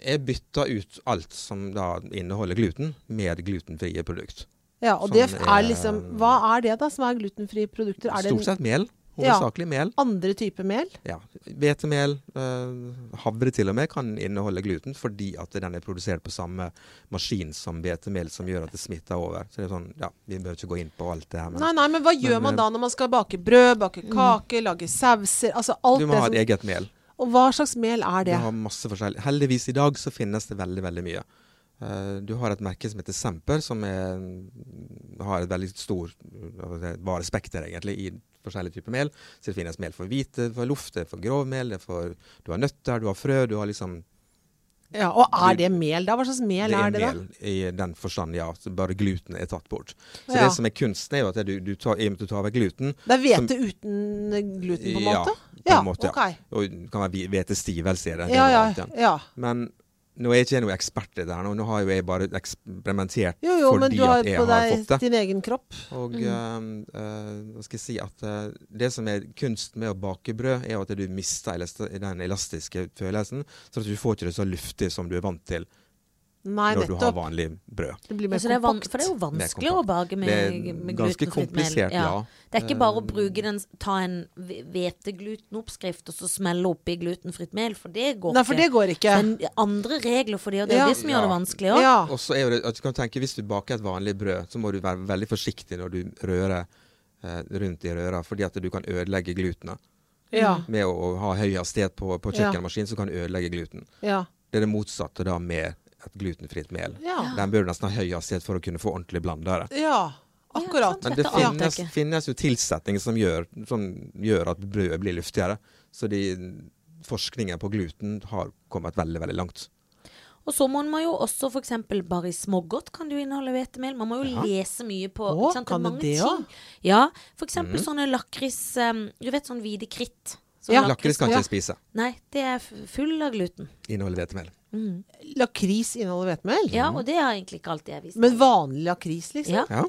[SPEAKER 3] Jeg bytta ut alt som da inneholder gluten, med glutenfrie produkt.
[SPEAKER 2] Ja, og
[SPEAKER 3] Som
[SPEAKER 2] det er
[SPEAKER 3] er-
[SPEAKER 2] liksom Hva er det da som er glutenfrie produkter? Er det
[SPEAKER 3] Stort
[SPEAKER 2] en
[SPEAKER 3] sett mel.
[SPEAKER 2] Ja.
[SPEAKER 3] Hovedsakelig mel.
[SPEAKER 2] andre type mel?
[SPEAKER 3] Ja. Hvetemel, eh, havre til og med, kan inneholde gluten fordi at den er produsert på samme maskin som hvetemel, som gjør at det smitter over. Så det er sånn, ja, Vi bør ikke gå inn på alt det her, men
[SPEAKER 2] Nei, nei, men hva gjør
[SPEAKER 3] Men,
[SPEAKER 2] man
[SPEAKER 3] eh,
[SPEAKER 2] da når man skal bake brød, bake kake, lage sauser? Altså alt
[SPEAKER 3] du må
[SPEAKER 2] det
[SPEAKER 3] ha
[SPEAKER 2] som
[SPEAKER 3] et eget mel.
[SPEAKER 2] Og hva slags mel er
[SPEAKER 3] Du
[SPEAKER 2] det?
[SPEAKER 3] har masse forskjellig. Heldigvis i dag så finnes det veldig, veldig mye. Eh, du har et merke som heter Semper, som er, har et veldig stor eh, varespekter egentlig i forskjellige typer mel. Så det finnes mel for hvite, for luft, det er for grovmel, det er for, du har nøtter, du har frø, du har liksom
[SPEAKER 2] Ja, og er det mel da? Hva slags mel er,
[SPEAKER 3] det er
[SPEAKER 2] det da?
[SPEAKER 3] mel i den forstand, ja. Så bare gluten er tatt bort. Så
[SPEAKER 2] Ja.
[SPEAKER 3] det som er kunsten, er jo at du, du tar, i og med at du tar vekk gluten
[SPEAKER 2] Det er hvete uten gluten, på en
[SPEAKER 3] Ja,
[SPEAKER 2] måte?
[SPEAKER 3] på en måte, ja.
[SPEAKER 2] ok.
[SPEAKER 3] Og det kan være hvi- hvetestivelse i det. det
[SPEAKER 2] Ja,
[SPEAKER 3] er noe
[SPEAKER 2] ja,
[SPEAKER 3] annet, ja.
[SPEAKER 2] ja.
[SPEAKER 3] Men nå er jeg ikke noen ekspert i det her. Nå, nå har jo jeg bare eksperimentert
[SPEAKER 2] Jo, jo, men
[SPEAKER 3] fordi
[SPEAKER 2] du har
[SPEAKER 3] at jeg
[SPEAKER 2] på
[SPEAKER 3] har
[SPEAKER 2] deg Mm.
[SPEAKER 3] fått det.
[SPEAKER 2] din egen kropp.
[SPEAKER 3] Og eh, eh, hva skal jeg si at eh, det som er kunsten med å bake brød, er jo at du mister elast den elastiske følelsen, så at du får ikke det så luftig som du er vant til
[SPEAKER 2] Nei,
[SPEAKER 3] når du har
[SPEAKER 2] nettopp.
[SPEAKER 3] vanlig brød.
[SPEAKER 2] Det blir
[SPEAKER 1] Ja,
[SPEAKER 2] mer
[SPEAKER 1] så Altså, det er van
[SPEAKER 2] kompakt.
[SPEAKER 1] for det er jo vanskelig å
[SPEAKER 3] kompakt.
[SPEAKER 1] bake med,
[SPEAKER 3] Det
[SPEAKER 1] med
[SPEAKER 3] er ganske
[SPEAKER 1] glutenfritt mel.
[SPEAKER 3] komplisert, ja.
[SPEAKER 1] Det er ikke bare å bruke den, ta en hve- hveteglutenoppskrift og så smelle oppi glutenfritt mel, for det går
[SPEAKER 2] Nei, for det
[SPEAKER 1] ikke.
[SPEAKER 2] går ikke.
[SPEAKER 1] Men andre regler for det, og det er
[SPEAKER 2] Ja.
[SPEAKER 1] det som gjør det
[SPEAKER 3] Ja.
[SPEAKER 1] vanskelig òg.
[SPEAKER 2] Ja.
[SPEAKER 3] Og så er jo det, at du kan tenke, Hvis du baker et vanlig brød, så må du være veldig forsiktig når du rører eh, rundt i røra, fordi at du kan ødelegge glutenet.
[SPEAKER 2] Ja.
[SPEAKER 1] Mm.
[SPEAKER 3] Med å, å ha høy hastighet på, på
[SPEAKER 2] Ja.
[SPEAKER 3] kjøkkenmaskin, så kan du ødelegge gluten.
[SPEAKER 2] Ja.
[SPEAKER 3] Det er det motsatte da med et glutenfritt mel.
[SPEAKER 2] ja.
[SPEAKER 3] Den bør du nesten ha høy hastighet for å kunne få ordentlig blandere.
[SPEAKER 2] ja. Akkurat.
[SPEAKER 1] sant.
[SPEAKER 3] Men det
[SPEAKER 1] Dette ante jeg
[SPEAKER 3] finnes,
[SPEAKER 1] ikke.
[SPEAKER 3] finnes jo tilsetninger som gjør, som gjør at brødet blir luftigere. Så de, forskningen på gluten har kommet veldig, veldig langt.
[SPEAKER 1] Og så må man jo også f.eks. bare i smågodt kan du inneholde hvetemel. Man må jo
[SPEAKER 3] Ja.
[SPEAKER 1] lese mye på
[SPEAKER 2] Å,
[SPEAKER 1] ikke sant? er
[SPEAKER 2] kan det
[SPEAKER 1] mange
[SPEAKER 2] det
[SPEAKER 1] ting.
[SPEAKER 2] også?
[SPEAKER 1] Ja. F.eks. sånne lakris um, Du vet sånn hvite kritt? Sånn
[SPEAKER 2] Ja.
[SPEAKER 3] Lakris kan
[SPEAKER 2] Ja.
[SPEAKER 3] ikke jeg spise.
[SPEAKER 1] Nei, det er f- full av gluten.
[SPEAKER 3] Inneholder hvetemel.
[SPEAKER 1] Mm.
[SPEAKER 2] Lakris inneholder hvetemel?
[SPEAKER 1] Ja, og det har egentlig ikke alltid jeg visst.
[SPEAKER 2] Men vanlig lakris, liksom?
[SPEAKER 1] ja,
[SPEAKER 3] Ja.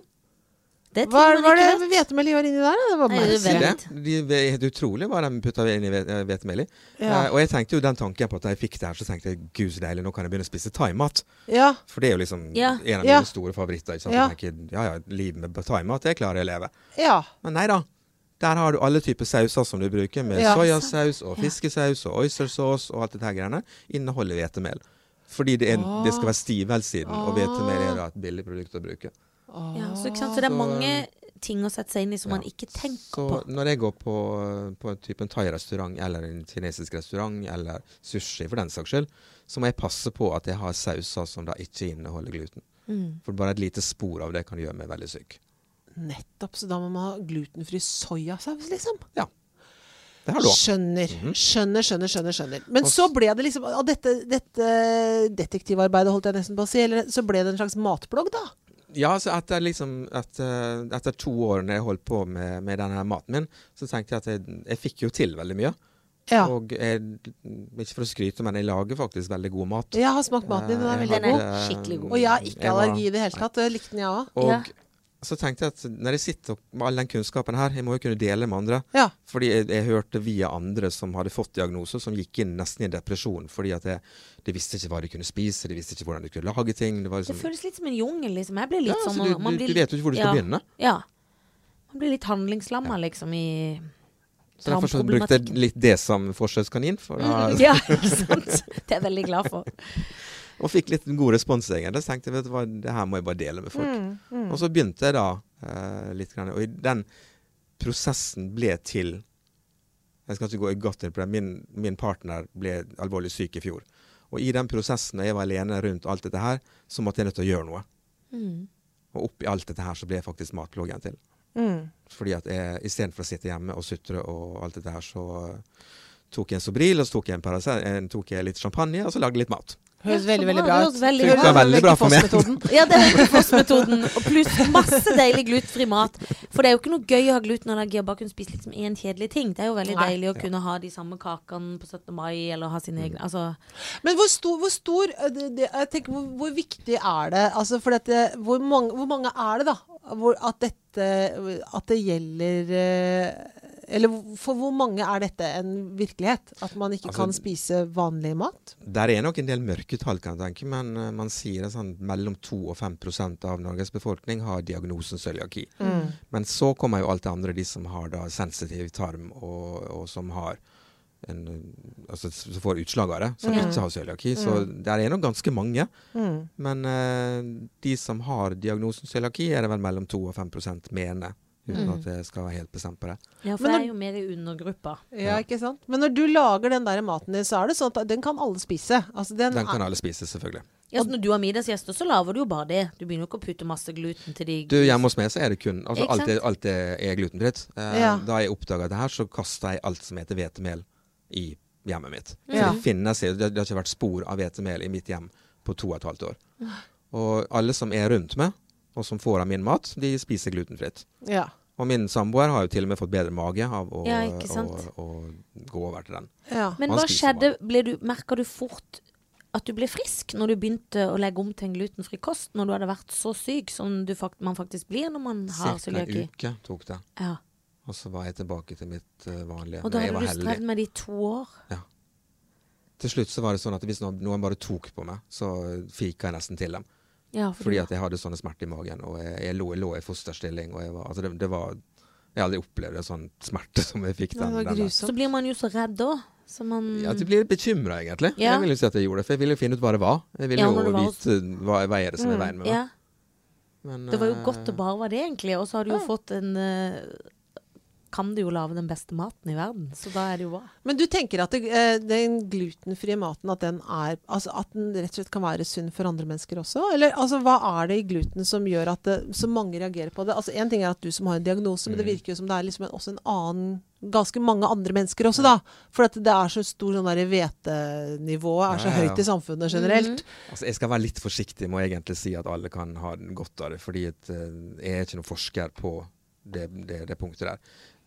[SPEAKER 1] det er ting
[SPEAKER 2] Hva er hva
[SPEAKER 1] man
[SPEAKER 2] er
[SPEAKER 1] ikke
[SPEAKER 2] det
[SPEAKER 1] vet.
[SPEAKER 2] hvetemel gjør inni der? da? Det var
[SPEAKER 1] Nei, det er
[SPEAKER 3] Si
[SPEAKER 2] merkelig.
[SPEAKER 3] det.
[SPEAKER 1] Vent.
[SPEAKER 3] De, det er helt utrolig hva de putta inn i hve- hvetemel i.
[SPEAKER 2] Ja.
[SPEAKER 3] Eh, og jeg tenkte jo den tanken på at da jeg fikk det her, så tenkte jeg gud så deilig, nå kan jeg begynne å spise thaimat.
[SPEAKER 2] Ja.
[SPEAKER 3] For det er jo liksom
[SPEAKER 1] Ja.
[SPEAKER 3] en av
[SPEAKER 2] Ja.
[SPEAKER 3] mine store favoritter. Ikke sant?
[SPEAKER 2] Ja.
[SPEAKER 3] Jeg tenker, ja ja, livet med thaimat, det klarer jeg å leve.
[SPEAKER 2] ja.
[SPEAKER 3] Men nei da. Der har du alle typer sauser som du bruker, med
[SPEAKER 2] Ja.
[SPEAKER 3] soyasaus og
[SPEAKER 1] Ja.
[SPEAKER 3] fiskesaus og oystersaus og alt det her greiene, inneholder hvetemel. Fordi det, er, det skal være stivelsiden, og hvetemel er da et billig produkt å bruke.
[SPEAKER 1] Ja, så, ikke sant? så det er
[SPEAKER 3] Ah, Så- eh,
[SPEAKER 1] mange ting å sette seg inn i som
[SPEAKER 3] Ja.
[SPEAKER 1] man ikke tenker
[SPEAKER 3] Så
[SPEAKER 1] på.
[SPEAKER 3] når jeg går på, på en type en thai-restaurant eller en kinesisk restaurant eller sushi for den saks skyld, så må jeg passe på at jeg har sauser som da ikke inneholder gluten.
[SPEAKER 1] Mm.
[SPEAKER 3] For bare et lite spor av det kan gjøre meg veldig syk.
[SPEAKER 2] Nettopp, så da må man ha glutenfri soyasaus, liksom.
[SPEAKER 3] Det har du òg.
[SPEAKER 2] Skjønner.
[SPEAKER 3] Mhm.
[SPEAKER 2] Skjønner, skjønner, skjønner. skjønner. Men
[SPEAKER 3] Og s-
[SPEAKER 2] så ble det liksom Av dette, dette detektivarbeidet, holdt jeg nesten på å si, eller så ble det en slags matblogg, da.
[SPEAKER 3] Ja, så etter, liksom, etter, etter to år når jeg holdt på med, med denne maten min, så tenkte jeg at jeg, jeg fikk jo til veldig mye.
[SPEAKER 2] Ja.
[SPEAKER 3] Og jeg, ikke for å skryte, men jeg lager faktisk veldig god mat.
[SPEAKER 2] Jeg har smakt maten din, den er
[SPEAKER 3] Eh, jeg
[SPEAKER 2] veldig
[SPEAKER 1] Den er
[SPEAKER 2] god.
[SPEAKER 3] hadde-
[SPEAKER 1] skikkelig god.
[SPEAKER 2] Og jeg har ikke
[SPEAKER 3] jeg var-
[SPEAKER 2] allergi i det hele tatt. Jeg likte den, jeg òg.
[SPEAKER 3] Og
[SPEAKER 1] Ja.
[SPEAKER 3] så tenkte jeg at når jeg sitter med all den kunnskapen her, jeg må jo kunne dele med andre.
[SPEAKER 2] Ja.
[SPEAKER 3] Fordi jeg, jeg hørte via andre som hadde fått diagnose, som gikk inn nesten i depresjon. Fordi at jeg, de visste ikke hva de kunne spise, de visste ikke hvordan de kunne lage ting. Det var
[SPEAKER 1] Det
[SPEAKER 3] liksom,
[SPEAKER 1] føles litt som en jungel, liksom. Jeg blir
[SPEAKER 3] ja,
[SPEAKER 1] litt
[SPEAKER 3] så
[SPEAKER 1] sånn
[SPEAKER 3] du,
[SPEAKER 1] man
[SPEAKER 3] du,
[SPEAKER 1] blir
[SPEAKER 3] du vet jo ikke hvor du
[SPEAKER 1] ja.
[SPEAKER 3] skal begynne.
[SPEAKER 1] Ja. Man blir litt handlingslamma, liksom, i
[SPEAKER 3] Så derfor så brukte jeg litt det som forsøkskanin. For da,
[SPEAKER 1] Mm, [LAUGHS] Ja, ikke sant? Det er jeg veldig glad for.
[SPEAKER 3] og fikk litt god respons, egentlig. Så tenkte jeg vet du hva, det her må jeg bare dele med folk. Og så begynte jeg da eh, litt. Grann, og i den prosessen ble til Jeg skal ikke gå i godt inn på det. Min, min partner ble alvorlig syk i fjor. Og i den prosessen, da jeg var alene rundt alt dette her, så måtte jeg nødt til å gjøre noe.
[SPEAKER 1] Mm.
[SPEAKER 3] Og oppi alt dette her så ble jeg faktisk matbloggen til. Fordi at jeg istedenfor å sitte hjemme og sutre og alt dette her, så eh, tok jeg en Sobril, og så tok jeg, en Paracet, eh, tok jeg litt champagne, og så lagde jeg litt mat.
[SPEAKER 2] Høres
[SPEAKER 1] Ja, så
[SPEAKER 2] veldig,
[SPEAKER 1] bra.
[SPEAKER 2] veldig
[SPEAKER 1] Det
[SPEAKER 2] bra
[SPEAKER 1] høres veldig
[SPEAKER 2] ut.
[SPEAKER 3] Funker bra ut. veldig bra for meg.
[SPEAKER 2] Fossmetoden.
[SPEAKER 1] Ja, det er Foss-metoden. Og pluss masse deilig glutenfri mat. For det er jo ikke noe gøy å ha glutenallergi og bare kunne spise liksom én kjedelig ting. Det er jo veldig
[SPEAKER 2] Nei.
[SPEAKER 1] deilig å kunne ha de samme kakene på 17. mai, eller ha
[SPEAKER 3] Mm.
[SPEAKER 1] sine egne Altså
[SPEAKER 2] Men hvor stor, hvor stor eh, det, det, Jeg tenker, hvor, hvor viktig er det? Altså, for dette, hvor, mange, hvor mange er det, da? Hvor, at dette At det gjelder eh, Eller for hvor mange er dette en virkelighet? At man ikke
[SPEAKER 3] Altså-
[SPEAKER 2] kan spise vanlig mat?
[SPEAKER 3] Der er nok en del mørketall, kan jeg tenke, men eh, man sier det sånn mellom 2 og 5 prosent av Norges befolkning har diagnosen cøliaki.
[SPEAKER 2] Mm.
[SPEAKER 3] Men så kommer jo alt det andre, de som har da sensitiv tarm, og, og som har en, altså, som får utslag av det, som
[SPEAKER 2] Ja.
[SPEAKER 3] ikke har cøliaki. Så der er nok ganske mange.
[SPEAKER 2] Mm.
[SPEAKER 3] Men eh, de som har diagnosen cøliaki, er det vel mellom 2 og 5 prosent mener, uten
[SPEAKER 1] Mm.
[SPEAKER 3] at jeg skal være helt bestemt på det.
[SPEAKER 1] Ja, for jeg
[SPEAKER 2] Men når-
[SPEAKER 1] er jo mer i undergruppa.
[SPEAKER 2] Ja, ikke sant? Men når du lager den der maten din, så er det sånn at den kan alle spise. Altså, den,
[SPEAKER 3] Den kan
[SPEAKER 2] er,
[SPEAKER 3] alle spise, selvfølgelig.
[SPEAKER 1] Ja, så når du har middagsgjester, så lager du jo bare det. Du begynner jo ikke å putte masse gluten til de
[SPEAKER 3] Du, Hjemme hos meg så er det kun altså,
[SPEAKER 1] Ikke
[SPEAKER 3] alt,
[SPEAKER 1] sant?
[SPEAKER 3] er, alt er er glutenfritt. Eh,
[SPEAKER 2] Ja.
[SPEAKER 3] Da jeg oppdaga det her, så kasta jeg alt som heter hvetemel i hjemmet mitt. Så
[SPEAKER 2] Ja.
[SPEAKER 3] Det finnes jo- det, det har ikke vært spor av hvetemel i mitt hjem på to og et halvt år. Og alle som er rundt meg, og som får av min mat, de spiser glutenfritt.
[SPEAKER 2] ja.
[SPEAKER 3] Og min samboer har jo til og med fått bedre mage av å,
[SPEAKER 1] Ja, ikke sant?
[SPEAKER 3] å, å gå over til den.
[SPEAKER 2] Ja.
[SPEAKER 1] Men
[SPEAKER 3] Man
[SPEAKER 1] hva
[SPEAKER 3] spiser
[SPEAKER 1] skjedde? Ble du, merka du fort at du ble frisk når du begynte å legge om til en glutenfri kost, når du hadde vært så syk som du fakt man faktisk blir når man har
[SPEAKER 3] Cirka en
[SPEAKER 1] cøliaki?
[SPEAKER 3] uke tok det.
[SPEAKER 1] Ja.
[SPEAKER 3] Og så var jeg tilbake til mitt eh, vanlige.
[SPEAKER 1] Og da
[SPEAKER 3] Men jeg
[SPEAKER 1] hadde
[SPEAKER 3] var
[SPEAKER 1] du
[SPEAKER 3] heldig.
[SPEAKER 1] strevd med det i to år.
[SPEAKER 3] Til slutt så var det sånn at hvis noen noen bare tok på meg, så fika jeg nesten til dem.
[SPEAKER 1] Ja, for
[SPEAKER 3] Fordi
[SPEAKER 1] du-
[SPEAKER 3] at jeg hadde sånne smerter i magen, og jeg, jeg, lå, jeg lå i fosterstilling. Og jeg var, altså det, det var Jeg hadde aldri opplevd en sånn smerte som jeg fikk
[SPEAKER 2] Det
[SPEAKER 3] den.
[SPEAKER 2] var
[SPEAKER 3] den der.
[SPEAKER 1] Så
[SPEAKER 2] grusomt.
[SPEAKER 1] blir man jo så redd da. Så man
[SPEAKER 3] sånn. ja, du blir bekymra, egentlig.
[SPEAKER 1] Ja.
[SPEAKER 3] Jeg vil jo si at jeg gjorde det, for jeg ville jo finne ut hva det var. Jeg ville
[SPEAKER 1] Ja, når
[SPEAKER 3] jo
[SPEAKER 1] det var hos-
[SPEAKER 3] vite hva, hva er det som er
[SPEAKER 2] Mm,
[SPEAKER 3] veien med meg.
[SPEAKER 1] ja.
[SPEAKER 3] Men,
[SPEAKER 1] Det var jo
[SPEAKER 3] eh,
[SPEAKER 1] godt det bare var det, egentlig. Og så har du jo
[SPEAKER 2] Ja.
[SPEAKER 1] fått en eh, Kan du jo lage den beste maten i verden, så da er det jo bra.
[SPEAKER 2] Men du tenker at det, eh, den glutenfrie maten at den, er, altså at den rett og slett kan være sunn for andre mennesker også? Eller altså, hva er det i gluten som gjør at det, så mange reagerer på det? Altså Én ting er at du som har en diagnose,
[SPEAKER 3] Mm.
[SPEAKER 2] men det virker jo som det er liksom en, også en annen Ganske mange andre mennesker også, da. For at det er så stor sånn der hvetenivået er så
[SPEAKER 3] Ja, ja, ja.
[SPEAKER 2] høyt i samfunnet generelt.
[SPEAKER 3] Altså, jeg skal være litt forsiktig med å egentlig si at alle kan ha godt av det, fordi at, eh, jeg er ikke noen forsker på det, det, det punktet der.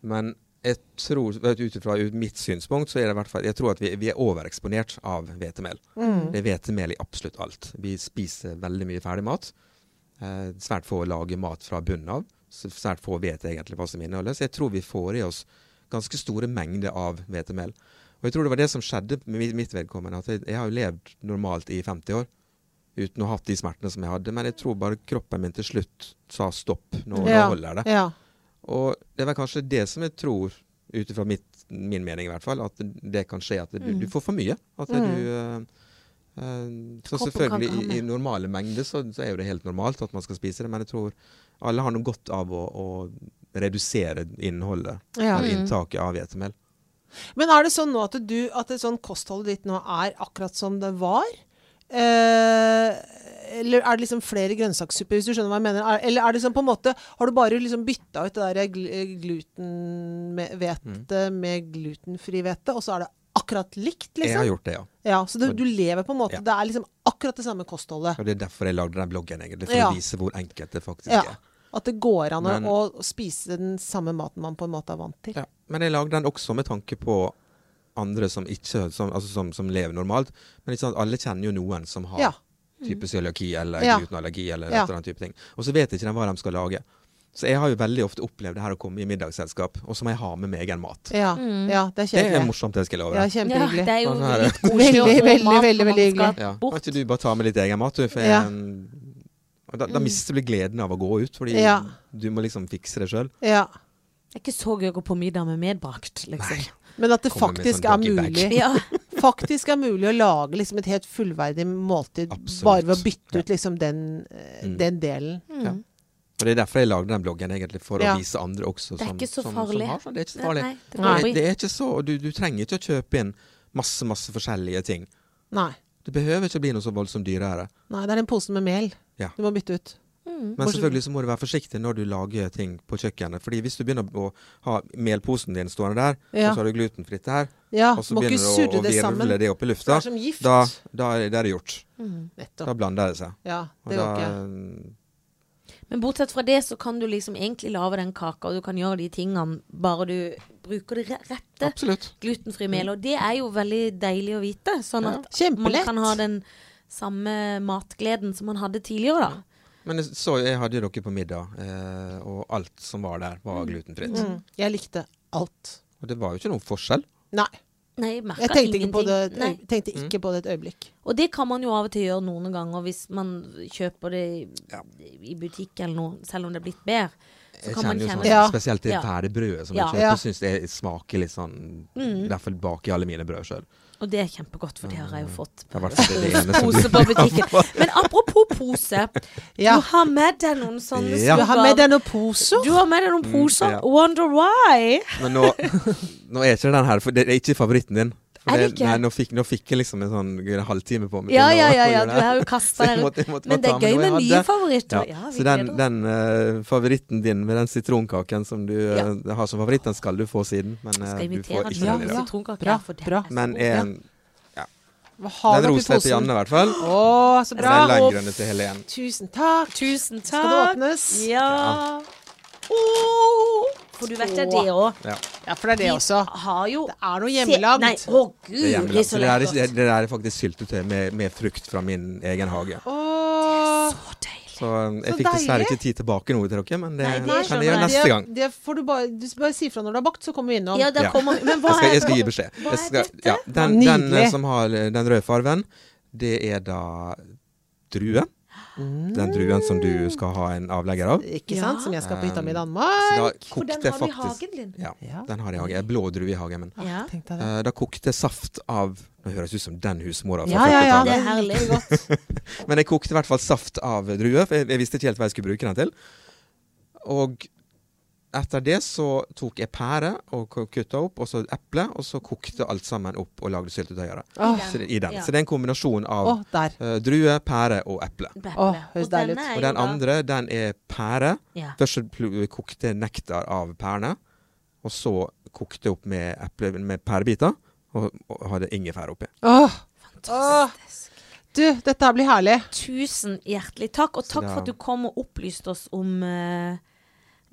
[SPEAKER 3] Men jeg tror, vet du, ut ifra mitt synspunkt, så er det i hvert fall Jeg tror at vi, vi er overeksponert av hvetemel. Det er hvetemel i absolutt alt. Vi spiser veldig mye ferdig mat. Eh, svært få lager mat fra bunnen av. Så svært få vet egentlig hva som inneholder. Så jeg tror vi får i oss ganske store mengder av hvetemel. Og jeg tror det var det som skjedde med mitt- mitt vedkommende. At jeg, jeg har jo levd normalt i 50 år uten å ha hatt de smertene som jeg hadde. Men jeg tror bare kroppen min til slutt sa stopp. Nå,
[SPEAKER 2] Ja.
[SPEAKER 3] nå holder det.
[SPEAKER 2] Ja.
[SPEAKER 3] Og det var kanskje det som jeg tror, ut ifra mitt- min mening i hvert fall, at det kan skje at du,
[SPEAKER 1] Mm.
[SPEAKER 3] du får for mye. At
[SPEAKER 2] Mm.
[SPEAKER 3] du eh, eh, så
[SPEAKER 1] Kroppen kan
[SPEAKER 3] selvfølgelig,
[SPEAKER 1] ikke ha
[SPEAKER 3] i, i
[SPEAKER 1] mer.
[SPEAKER 3] normale mengder så, så er jo det helt normalt at man skal spise det, men jeg tror alle har noe godt av å, å redusere innholdet,
[SPEAKER 2] ja.
[SPEAKER 3] eller
[SPEAKER 1] Mm.
[SPEAKER 3] inntaket av hvetemel.
[SPEAKER 2] Men er det sånn nå at, du, at det sånn kostholdet ditt nå er akkurat som det var? Eh, eller er det liksom flere grønnsakssupper, hvis du skjønner hva jeg mener? Er, eller er det sånn på en måte Har du bare liksom bytta ut det der gl- eh, glutenhvete med glutenfri hvete, og så er det akkurat likt,
[SPEAKER 3] Jeg har
[SPEAKER 2] liksom?
[SPEAKER 3] gjort det, ja.
[SPEAKER 2] Ja, så du, du lever på en måte
[SPEAKER 3] Ja.
[SPEAKER 2] Det er liksom akkurat det samme kostholdet.
[SPEAKER 3] Og det er derfor jeg lagde den bloggen, egentlig. For
[SPEAKER 2] Ja.
[SPEAKER 3] å vise hvor enkelt det faktisk
[SPEAKER 2] Ja.
[SPEAKER 3] er.
[SPEAKER 2] At det går an å-
[SPEAKER 3] Men-
[SPEAKER 2] å spise den samme maten man på en måte er vant til.
[SPEAKER 3] Ja, men jeg lagde den også med tanke på andre som ikke som, altså som, som lever normalt. Men ikke sant, alle kjenner jo noen som har
[SPEAKER 2] Ja.
[SPEAKER 3] type cøliaki eller
[SPEAKER 2] Mm. Ja.
[SPEAKER 3] glutenallergi eller et
[SPEAKER 2] Ja.
[SPEAKER 3] eller annet type ting. Og så vet ikke de hva de skal lage. Så jeg har jo veldig ofte opplevd det her å komme i middagsselskap, og så må jeg ha med meg egen mat.
[SPEAKER 2] Ja,
[SPEAKER 1] Mm.
[SPEAKER 2] ja, det er
[SPEAKER 3] Det er
[SPEAKER 2] kjempehyggelig.
[SPEAKER 3] morsomt, det skal jeg love.
[SPEAKER 2] Ja,
[SPEAKER 3] deg.
[SPEAKER 1] Ja, det
[SPEAKER 2] kjempehyggelig.
[SPEAKER 1] er jo
[SPEAKER 3] Sånn her.
[SPEAKER 1] litt koselig å
[SPEAKER 2] Veldig,
[SPEAKER 1] få
[SPEAKER 2] veldig,
[SPEAKER 1] mat når
[SPEAKER 2] veldig,
[SPEAKER 1] man skal
[SPEAKER 2] veldig hyggelig.
[SPEAKER 3] Ja. Kan
[SPEAKER 1] bort.
[SPEAKER 3] ikke du bare ta med litt egen mat? Du, for jeg,
[SPEAKER 2] Ja. Mm.
[SPEAKER 3] og da, da mister du gleden av å gå ut, fordi
[SPEAKER 2] Ja.
[SPEAKER 3] du må liksom fikse det sjøl.
[SPEAKER 2] Ja.
[SPEAKER 1] Det er ikke så gøy å gå på middag med medbrakt, liksom.
[SPEAKER 2] Men at det
[SPEAKER 3] Kommer med
[SPEAKER 2] faktisk
[SPEAKER 3] sånn
[SPEAKER 2] er
[SPEAKER 3] doggy bag.
[SPEAKER 2] mulig.
[SPEAKER 1] Ja.
[SPEAKER 2] Faktisk er mulig å lage liksom et helt fullverdig måltid
[SPEAKER 3] Absolutt.
[SPEAKER 2] bare ved å bytte ut liksom den, eh,
[SPEAKER 3] Mm.
[SPEAKER 2] den delen.
[SPEAKER 1] Mm.
[SPEAKER 3] [LAUGHS] Ja. Og Det er derfor jeg lagde den bloggen, egentlig, for
[SPEAKER 2] Ja.
[SPEAKER 3] å vise andre også.
[SPEAKER 1] Det er ikke så
[SPEAKER 3] som,
[SPEAKER 1] farlig.
[SPEAKER 3] Som har, sånn. det er ikke så
[SPEAKER 1] Nei,
[SPEAKER 3] farlig.
[SPEAKER 1] nei, det
[SPEAKER 2] Nei.
[SPEAKER 1] går
[SPEAKER 3] Det,
[SPEAKER 1] i-
[SPEAKER 3] det er ikke så, og du, du trenger ikke å kjøpe inn masse masse forskjellige ting.
[SPEAKER 2] Nei.
[SPEAKER 3] Det behøver ikke å bli noe så voldsomt dyrere.
[SPEAKER 2] Nei, det er den posen med mel
[SPEAKER 3] Ja.
[SPEAKER 2] du må bytte ut.
[SPEAKER 1] Mm.
[SPEAKER 3] Men
[SPEAKER 2] Hvordan-
[SPEAKER 3] selvfølgelig så må du være forsiktig når du lager ting på kjøkkenet. Fordi hvis du begynner å ha melposen din stående der,
[SPEAKER 2] Ja.
[SPEAKER 3] og så har du glutenfritt der,
[SPEAKER 2] Ja,
[SPEAKER 3] og så
[SPEAKER 2] må ikke
[SPEAKER 3] begynner du
[SPEAKER 2] surre
[SPEAKER 3] å, å
[SPEAKER 2] det sammen.
[SPEAKER 3] virvle det opp i
[SPEAKER 2] Det
[SPEAKER 3] lufta,
[SPEAKER 2] er som gift.
[SPEAKER 3] da, da, er- da er det gjort.
[SPEAKER 1] Mm.
[SPEAKER 2] Nettopp.
[SPEAKER 3] Da blander det seg.
[SPEAKER 2] Ja,
[SPEAKER 3] Og
[SPEAKER 2] det
[SPEAKER 3] da, eh,
[SPEAKER 2] går ikke.
[SPEAKER 1] Men bortsett fra det så kan du liksom egentlig lage den kaka, og du kan gjøre de tingene bare du bruker det re- rette
[SPEAKER 3] Absolutt.
[SPEAKER 1] glutenfri melet. Og det er jo veldig deilig å vite, sånn
[SPEAKER 3] Ja.
[SPEAKER 1] at man
[SPEAKER 2] Kjempelett.
[SPEAKER 1] kan ha den samme matgleden som man hadde tidligere, da.
[SPEAKER 3] Men jeg så jeg hadde jo dere på middag, eh, og alt som var der, var glutenfritt.
[SPEAKER 2] Mm. Jeg likte alt.
[SPEAKER 3] Og det var jo ikke noen forskjell.
[SPEAKER 2] Nei,
[SPEAKER 1] Nei, jeg merka
[SPEAKER 2] jeg tenkte
[SPEAKER 1] ingenting.
[SPEAKER 2] ikke, på det, et
[SPEAKER 1] Nei.
[SPEAKER 2] øy- tenkte
[SPEAKER 3] Mm.
[SPEAKER 2] ikke på det et øyeblikk.
[SPEAKER 1] Og det kan man jo av og til gjøre noen ganger hvis man kjøper det i, i butikk eller noe, selv om det er blitt bedre. Så
[SPEAKER 3] Jeg
[SPEAKER 1] kan man
[SPEAKER 3] kjenner jo sånn,
[SPEAKER 1] kjenne
[SPEAKER 2] Ja.
[SPEAKER 3] Spesielt det
[SPEAKER 1] Ja.
[SPEAKER 3] ferdigbrødet som
[SPEAKER 1] Ja.
[SPEAKER 3] jeg
[SPEAKER 2] Ja. Mm.
[SPEAKER 3] kjøper, syns jeg smaker litt sånn I hvert fall baker alle mine brød sjøl.
[SPEAKER 1] Og det er kjempegodt, for det har jeg jo fått.
[SPEAKER 3] Mm. Det er i hvert fall det ene som
[SPEAKER 1] Pose på butikken. Men apropos pose.
[SPEAKER 2] [LAUGHS] Ja.
[SPEAKER 1] Du har med deg noen sånne
[SPEAKER 3] Ja. Mm,
[SPEAKER 2] Du har med
[SPEAKER 1] skugger.
[SPEAKER 2] deg noen poser.
[SPEAKER 1] Du har med deg noen poser.
[SPEAKER 3] ja.
[SPEAKER 1] Wonder why.
[SPEAKER 3] Men nå, nå er ikke den her, for det er ikke favoritten din. For
[SPEAKER 1] Er det ikke?
[SPEAKER 3] Nei, nå fikk, nå fikk jeg liksom en sånn en halvtime på meg.
[SPEAKER 1] Ja,
[SPEAKER 3] til å-
[SPEAKER 1] ja, ja. ja.
[SPEAKER 3] å gjøre
[SPEAKER 1] Du
[SPEAKER 3] det her.
[SPEAKER 1] har jo kasta
[SPEAKER 3] Så [LAUGHS] jeg
[SPEAKER 1] deg
[SPEAKER 3] måtte-
[SPEAKER 1] rundt.
[SPEAKER 3] jeg måtte
[SPEAKER 1] Men
[SPEAKER 3] bare
[SPEAKER 1] det
[SPEAKER 3] ta
[SPEAKER 1] er gøy
[SPEAKER 3] noe jeg
[SPEAKER 1] med nye
[SPEAKER 3] hadde.
[SPEAKER 1] favoritter.
[SPEAKER 3] Ja.
[SPEAKER 1] Ja, vi
[SPEAKER 3] så den,
[SPEAKER 1] gleder oss.
[SPEAKER 3] den eh, favoritten din med den sitronkaken som du eh, har som favoritt, den skal du få siden. Men eh,
[SPEAKER 1] Skal
[SPEAKER 3] du
[SPEAKER 1] invitere
[SPEAKER 3] får
[SPEAKER 1] deg
[SPEAKER 3] ikke
[SPEAKER 2] Ja,
[SPEAKER 3] den i
[SPEAKER 1] til
[SPEAKER 3] dag.
[SPEAKER 2] ja.
[SPEAKER 1] sitronkake.
[SPEAKER 2] Bra,
[SPEAKER 1] ja, for det
[SPEAKER 2] bra.
[SPEAKER 1] er så
[SPEAKER 3] Men
[SPEAKER 1] god.
[SPEAKER 3] en,
[SPEAKER 2] Ha
[SPEAKER 3] den
[SPEAKER 2] det oppi
[SPEAKER 3] rosa til
[SPEAKER 2] posen.
[SPEAKER 3] Janne, i hvert fall.
[SPEAKER 2] Å, så
[SPEAKER 3] Og
[SPEAKER 2] bra.
[SPEAKER 3] den langgrønne til Helen.
[SPEAKER 2] Tusen takk.
[SPEAKER 1] Tusen takk.
[SPEAKER 2] Skal det åpnes?
[SPEAKER 1] Ja. For du vet det, er det òg.
[SPEAKER 3] Ja.
[SPEAKER 2] Ja, for det er det også.
[SPEAKER 1] Har jo
[SPEAKER 2] Det er noe
[SPEAKER 1] Se-
[SPEAKER 2] hjemmelagd.
[SPEAKER 1] Nei, å gud,
[SPEAKER 3] Det,
[SPEAKER 1] det
[SPEAKER 3] er
[SPEAKER 1] er så
[SPEAKER 3] hjemmelagd. Så det,
[SPEAKER 1] lekkert.
[SPEAKER 3] der er, det der er faktisk syltetøy med, med frukt fra min egen hage.
[SPEAKER 2] Åh,
[SPEAKER 1] Å, deilig.
[SPEAKER 3] Så um, jeg
[SPEAKER 2] Så
[SPEAKER 3] fikk dessverre
[SPEAKER 2] deilig.
[SPEAKER 3] ikke tid tilbake noe til dere, men det,
[SPEAKER 1] Nei, det
[SPEAKER 3] kan
[SPEAKER 1] skjønner
[SPEAKER 3] jeg gjøre
[SPEAKER 1] jeg.
[SPEAKER 3] neste gang.
[SPEAKER 2] Det, det får du bare, du skal bare si fra når du har bakt, så kommer vi innom.
[SPEAKER 1] Ja, der
[SPEAKER 3] Ja.
[SPEAKER 1] kommer Men hva
[SPEAKER 3] Jeg skal,
[SPEAKER 1] er
[SPEAKER 3] jeg skal gi beskjed.
[SPEAKER 1] Hva
[SPEAKER 3] Jeg
[SPEAKER 1] er
[SPEAKER 3] skal,
[SPEAKER 1] dette?
[SPEAKER 3] ja, den, den eh,
[SPEAKER 2] Nydelig.
[SPEAKER 3] som har eh, den røde farven, det er da drue. Den druen som du skal ha en avlegger av.
[SPEAKER 2] Ikke
[SPEAKER 1] Mm. Ja.
[SPEAKER 2] sant? Som jeg skal på hytta mi i
[SPEAKER 3] Um, Så da
[SPEAKER 2] Danmark.
[SPEAKER 1] For
[SPEAKER 3] kokte
[SPEAKER 1] den
[SPEAKER 3] jeg
[SPEAKER 1] har du i
[SPEAKER 3] faktisk
[SPEAKER 1] hagen din.
[SPEAKER 3] ja,
[SPEAKER 2] Ja.
[SPEAKER 3] den har jeg i hagen. Jeg har blå drue i hagen min.
[SPEAKER 1] Ja.
[SPEAKER 2] Tenk deg det.
[SPEAKER 3] Eh, Da kokte jeg saft av Nå høres det ut som den husmora
[SPEAKER 2] Ja,
[SPEAKER 3] fra
[SPEAKER 2] ja, ja.
[SPEAKER 3] 40-tallet.
[SPEAKER 1] Det er herlig.
[SPEAKER 3] Men jeg kokte i hvert fall saft av druer, for jeg, jeg visste ikke helt hva jeg skulle bruke den til. Og etter det så tok jeg pære og k- kutta opp, og så eple, og så kokte alt sammen opp og lagde syltetøy av det.
[SPEAKER 2] Åh,
[SPEAKER 1] den.
[SPEAKER 3] Så det- I den.
[SPEAKER 1] Ja.
[SPEAKER 3] Så det er en kombinasjon av
[SPEAKER 2] åh, der.
[SPEAKER 3] eh, drue, pære og eple.
[SPEAKER 1] Blæble.
[SPEAKER 2] Åh, høres
[SPEAKER 1] Og denne
[SPEAKER 2] deilig ut.
[SPEAKER 1] er
[SPEAKER 3] Og
[SPEAKER 1] jo
[SPEAKER 3] den
[SPEAKER 1] da-
[SPEAKER 3] andre, den er pære.
[SPEAKER 1] Ja.
[SPEAKER 3] Først så pl- kokte jeg nektar av pærene, og så kokte jeg opp med, eple, med pærebiter, og, og hadde ingefær oppi.
[SPEAKER 2] Åh,
[SPEAKER 1] Fantastisk.
[SPEAKER 2] du, dette her blir herlig.
[SPEAKER 1] Tusen hjertelig takk, og
[SPEAKER 3] Så
[SPEAKER 1] takk
[SPEAKER 3] da-
[SPEAKER 1] for at du kom og opplyste oss om eh,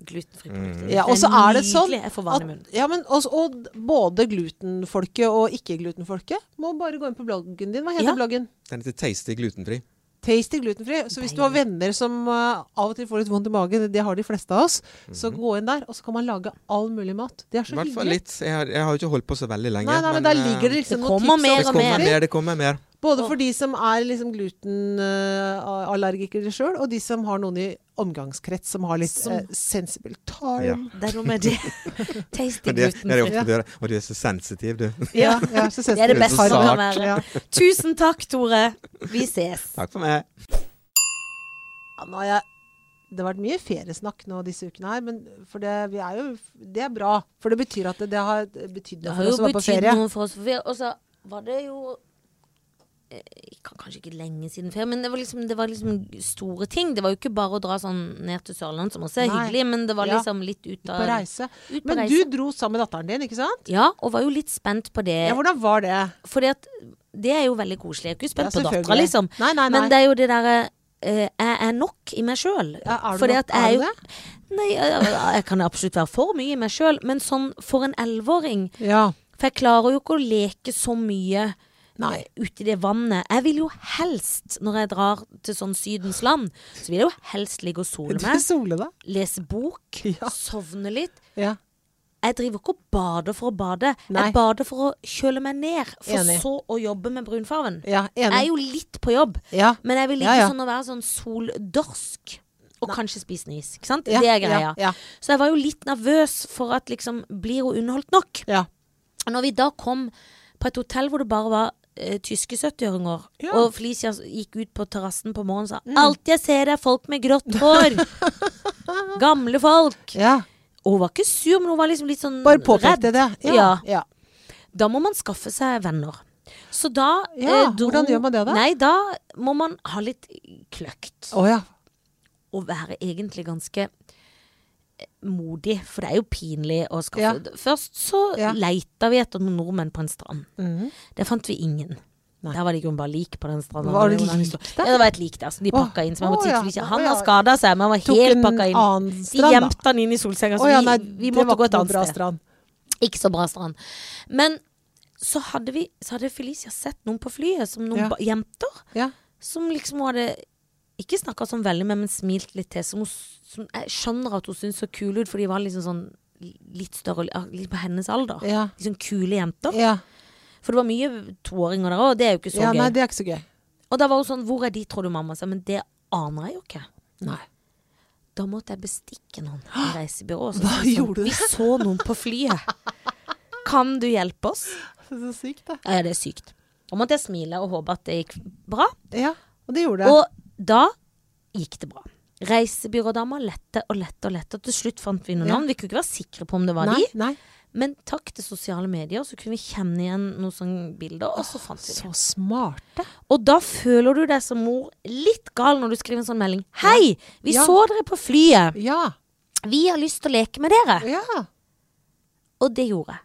[SPEAKER 1] glutenfri produkter.
[SPEAKER 2] Ja, og
[SPEAKER 1] Det
[SPEAKER 2] så er det sånn
[SPEAKER 1] nydelig. Jeg får vann i munnen.
[SPEAKER 2] at ja, men også, og både glutenfolket og ikke-glutenfolket må bare gå inn på bloggen din. Hva heter
[SPEAKER 1] Ja.
[SPEAKER 2] bloggen?
[SPEAKER 3] Den heter Tasty glutenfri.
[SPEAKER 2] Tasty glutenfri. Så hvis du har venner som eh, av og til får litt vondt i magen, det har de fleste av oss, så gå inn der, og så kan man lage all mulig mat. Det er
[SPEAKER 3] Mhm. I
[SPEAKER 2] så
[SPEAKER 3] hvert fall
[SPEAKER 2] hyggelig.
[SPEAKER 3] litt. Jeg har, jeg har jo ikke holdt på så veldig lenge.
[SPEAKER 2] Nei, nei, men der
[SPEAKER 3] eh,
[SPEAKER 2] ligger det liksom
[SPEAKER 1] Det
[SPEAKER 2] noen
[SPEAKER 1] kommer
[SPEAKER 2] tips.
[SPEAKER 1] mer
[SPEAKER 3] Det
[SPEAKER 1] og
[SPEAKER 2] også.
[SPEAKER 3] kommer
[SPEAKER 1] mer.
[SPEAKER 3] mer, det kommer mer.
[SPEAKER 2] Både for de som er liksom glutenallergikere sjøl, og de som har noen i omgangskrets som har litt
[SPEAKER 1] Som-
[SPEAKER 2] eh, sensible time.
[SPEAKER 3] Ja.
[SPEAKER 1] Det er noe med
[SPEAKER 2] [LAUGHS]
[SPEAKER 1] det. Tasty
[SPEAKER 3] Og det, det er det
[SPEAKER 1] glutenfri.
[SPEAKER 3] ofte du gjør. Og du er så sensitiv, du.
[SPEAKER 2] [LAUGHS] Ja, jeg er så
[SPEAKER 1] Det er det
[SPEAKER 2] sensible
[SPEAKER 1] beste som
[SPEAKER 2] tarmen.
[SPEAKER 1] kan være.
[SPEAKER 2] Ja.
[SPEAKER 1] Tusen takk, Tore. Vi ses.
[SPEAKER 3] Takk for meg.
[SPEAKER 2] Ja, nå har jeg, det har vært mye feriesnakk nå disse ukene her, men for det, vi er jo, det er bra. For det betyr at det, det har betydd
[SPEAKER 1] Det
[SPEAKER 2] noe
[SPEAKER 1] har
[SPEAKER 2] for
[SPEAKER 1] jo
[SPEAKER 2] oss som var på
[SPEAKER 1] betydd
[SPEAKER 2] ferie.
[SPEAKER 1] noe for oss. For vi- Og så var det jo eh, kan- Kanskje ikke lenge siden ferie, men det var, liksom, det var liksom store ting. Det var jo ikke bare å dra sånn ned til Sørlandet, som også er
[SPEAKER 2] Nei.
[SPEAKER 1] hyggelig, men det var
[SPEAKER 2] Ja.
[SPEAKER 1] liksom litt ut
[SPEAKER 2] På
[SPEAKER 1] av
[SPEAKER 2] reise.
[SPEAKER 1] ut på
[SPEAKER 2] Men du
[SPEAKER 1] reise.
[SPEAKER 2] dro sammen med datteren din, ikke sant?
[SPEAKER 1] Ja, og var jo litt spent på det.
[SPEAKER 2] Ja, hvordan var det?
[SPEAKER 1] Fordi at det er jo veldig koselig. Jeg er ikke
[SPEAKER 2] Ja,
[SPEAKER 1] spent på dattera,
[SPEAKER 2] selvfølgelig.
[SPEAKER 1] liksom.
[SPEAKER 2] Nei, nei, nei.
[SPEAKER 1] Men det er jo det derre eh, Jeg er nok i meg sjøl.
[SPEAKER 2] Ja, er du
[SPEAKER 1] Fordi
[SPEAKER 2] nok-
[SPEAKER 1] at jeg er
[SPEAKER 2] er
[SPEAKER 1] jo
[SPEAKER 2] du
[SPEAKER 1] Nei, jeg, jeg kan absolutt være for mye i meg sjøl, men sånn for en elleveåring
[SPEAKER 2] Ja.
[SPEAKER 1] For jeg klarer jo ikke å leke så mye
[SPEAKER 2] Nei.
[SPEAKER 1] uti det vannet. Jeg vil jo helst, når jeg drar til sånn Sydens land, så vil jeg jo helst ligge og sole
[SPEAKER 2] [LAUGHS] Du
[SPEAKER 1] meg,
[SPEAKER 2] sole deg.
[SPEAKER 1] lese bok,
[SPEAKER 2] [LAUGHS] Ja.
[SPEAKER 1] sovne litt.
[SPEAKER 2] Ja.
[SPEAKER 1] Jeg driver ikke og bader for å bade.
[SPEAKER 2] Nei.
[SPEAKER 1] Jeg bader for å kjøle meg ned, for
[SPEAKER 2] Enig.
[SPEAKER 1] så å jobbe med brunfarven.
[SPEAKER 2] ja
[SPEAKER 1] Jeg er
[SPEAKER 2] enig.
[SPEAKER 1] jo litt på jobb,
[SPEAKER 2] Ja.
[SPEAKER 1] men jeg vil
[SPEAKER 2] Ja,
[SPEAKER 1] ikke
[SPEAKER 2] ja.
[SPEAKER 1] sånn å være sånn soldorsk. Og kanskje spise en is. Ikke sant?
[SPEAKER 2] Ja,
[SPEAKER 1] det er greia.
[SPEAKER 2] ja, ja.
[SPEAKER 1] Så jeg var jo litt nervøs for at liksom Blir hun underholdt nok?
[SPEAKER 2] Ja.
[SPEAKER 1] Og Når vi da kom på et hotell hvor det bare var eh, tyske 70-åringer,
[SPEAKER 2] Ja. Mm.
[SPEAKER 1] og Felicia gikk ut på terrassen på morgenen og sa Alt jeg ser er folk med grått
[SPEAKER 2] [LAUGHS]
[SPEAKER 1] hår! Gamle folk!
[SPEAKER 2] ja.
[SPEAKER 1] Og hun var ikke sur, men hun var liksom litt sånn
[SPEAKER 2] Bare
[SPEAKER 1] redd.
[SPEAKER 2] påpekte det. Ja.
[SPEAKER 1] Ja.
[SPEAKER 2] ja.
[SPEAKER 1] Da må man skaffe seg venner. Så da eh,
[SPEAKER 2] Ja, hvordan gjør man det da?
[SPEAKER 1] Nei, da må man ha litt kløkt.
[SPEAKER 2] Å ja.
[SPEAKER 1] Og være egentlig ganske eh, modig, for det er jo pinlig å skaffe Først så
[SPEAKER 2] Ja.
[SPEAKER 1] leita vi etter noen nordmenn på en strand.
[SPEAKER 2] Mhm.
[SPEAKER 1] Der fant vi ingen.
[SPEAKER 2] Nei.
[SPEAKER 1] Der var det i grunnen bare lik på den stranda.
[SPEAKER 2] Var det
[SPEAKER 1] jo den
[SPEAKER 2] lik
[SPEAKER 1] historien.
[SPEAKER 2] der?
[SPEAKER 1] Ja, det var et lik der som de
[SPEAKER 2] Å,
[SPEAKER 1] pakka inn. Som jeg
[SPEAKER 2] å
[SPEAKER 1] måtte si
[SPEAKER 2] ja,
[SPEAKER 1] til Felicia.
[SPEAKER 2] å
[SPEAKER 1] Han
[SPEAKER 2] ja.
[SPEAKER 1] har skada seg, men han var
[SPEAKER 2] Tok
[SPEAKER 1] helt
[SPEAKER 2] en
[SPEAKER 1] pakka inn.
[SPEAKER 2] annen
[SPEAKER 1] de
[SPEAKER 2] strand, da.
[SPEAKER 1] gjemte han inn i solsenga, så
[SPEAKER 2] Å ja,
[SPEAKER 1] Altså, vi,
[SPEAKER 2] nei,
[SPEAKER 1] vi
[SPEAKER 2] det
[SPEAKER 1] måtte
[SPEAKER 2] var
[SPEAKER 1] gå
[SPEAKER 2] ikke
[SPEAKER 1] et
[SPEAKER 2] noe
[SPEAKER 1] annet
[SPEAKER 2] bra
[SPEAKER 1] sted.
[SPEAKER 2] strand.
[SPEAKER 1] Ikke så bra strand. Men så hadde, vi, så hadde Felicia sett noen på flyet, som noen
[SPEAKER 2] Ja.
[SPEAKER 1] ba- jenter,
[SPEAKER 2] Ja.
[SPEAKER 1] som liksom hun hadde ikke snakka sånn veldig med, men smilt litt til. Som, hun, s- som jeg skjønner at hun syntes så kule ut, for de var liksom sånn litt større, ah, litt på hennes alder.
[SPEAKER 2] Ja.
[SPEAKER 1] Litt sånn kule jenter.
[SPEAKER 2] Ja.
[SPEAKER 1] For det var mye toåringer der òg, det er jo ikke så
[SPEAKER 2] ja. Nei,
[SPEAKER 1] gøy.
[SPEAKER 2] det er ikke så gøy.
[SPEAKER 1] Og da var hun sånn Hvor er de, tror du, mamma? sa jeg, Men det aner jeg jo ikke.
[SPEAKER 2] Nei.
[SPEAKER 1] Da måtte jeg bestikke noen i reisebyrået. så
[SPEAKER 2] Hva
[SPEAKER 1] sa jeg sånn,
[SPEAKER 2] gjorde du?
[SPEAKER 1] Vi så noen på flyet.
[SPEAKER 2] [LAUGHS]
[SPEAKER 1] Kan du hjelpe oss?
[SPEAKER 2] Det er [LAUGHS] så sykt, det.
[SPEAKER 1] Ja, ja, det er sykt. Da måtte jeg smile og håpe at det gikk bra.
[SPEAKER 2] Ja, og det gjorde det.
[SPEAKER 1] Og da gikk det bra. Reisebyrådama lette og lette og lette. og Til slutt fant vi noen
[SPEAKER 2] Ja.
[SPEAKER 1] navn. Vi kunne ikke være sikre på om det var
[SPEAKER 2] nei,
[SPEAKER 1] de.
[SPEAKER 2] nei.
[SPEAKER 1] Men takk til sosiale medier, så kunne vi kjenne igjen noen sånne bilder. Og så fant vi det.
[SPEAKER 2] Så smarte.
[SPEAKER 1] Og da føler du deg som mor litt gal når du skriver en sånn melding. Hei, vi
[SPEAKER 2] Ja.
[SPEAKER 1] så dere på flyet.
[SPEAKER 2] Ja.
[SPEAKER 1] Vi har lyst til å leke med dere.
[SPEAKER 2] ja.
[SPEAKER 1] Og det gjorde jeg.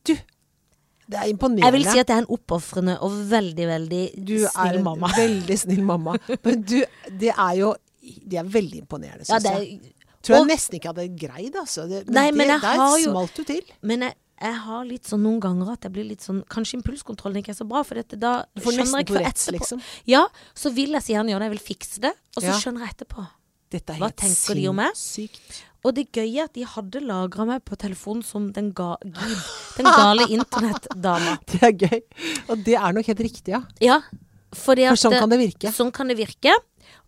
[SPEAKER 2] Du, det er imponerende.
[SPEAKER 1] Jeg vil si at jeg er en oppofrende og veldig, veldig
[SPEAKER 2] du er
[SPEAKER 1] snill
[SPEAKER 2] en
[SPEAKER 1] mamma.
[SPEAKER 2] veldig snill
[SPEAKER 1] [LAUGHS]
[SPEAKER 2] mamma. Men du, det er jo Det er veldig imponerende,
[SPEAKER 1] Ja,
[SPEAKER 2] syns
[SPEAKER 1] det
[SPEAKER 2] jeg.
[SPEAKER 1] er
[SPEAKER 2] Tror jeg
[SPEAKER 1] og-
[SPEAKER 2] nesten ikke hadde greid, altså. Det, men,
[SPEAKER 1] Nei, men jeg
[SPEAKER 2] det, der
[SPEAKER 1] har jo-
[SPEAKER 2] smalt du til.
[SPEAKER 1] Men jeg, jeg har litt sånn noen ganger at jeg blir litt sånn Kanskje impulskontrollen ikke er så bra, for dette, da
[SPEAKER 2] Du får
[SPEAKER 1] skjønner
[SPEAKER 2] nesten
[SPEAKER 1] jeg ikke før
[SPEAKER 2] Tourettes,
[SPEAKER 1] etterpå.
[SPEAKER 2] liksom.
[SPEAKER 1] Ja, så vil jeg så gjerne gjøre det, jeg vil fikse det, og så
[SPEAKER 2] Ja.
[SPEAKER 1] skjønner jeg etterpå.
[SPEAKER 2] Dette er
[SPEAKER 1] Hva
[SPEAKER 2] helt
[SPEAKER 1] tenker de om meg?
[SPEAKER 2] sinnssykt.
[SPEAKER 1] Og det gøye er at de hadde lagra meg på telefonen som den, ga,
[SPEAKER 2] [LAUGHS]
[SPEAKER 1] gud, den gale internettdama.
[SPEAKER 2] [LAUGHS] Det er gøy. Og det er nok helt riktig, ja.
[SPEAKER 1] Ja, fordi at
[SPEAKER 2] For sånn kan det virke.
[SPEAKER 1] Sånn kan det virke.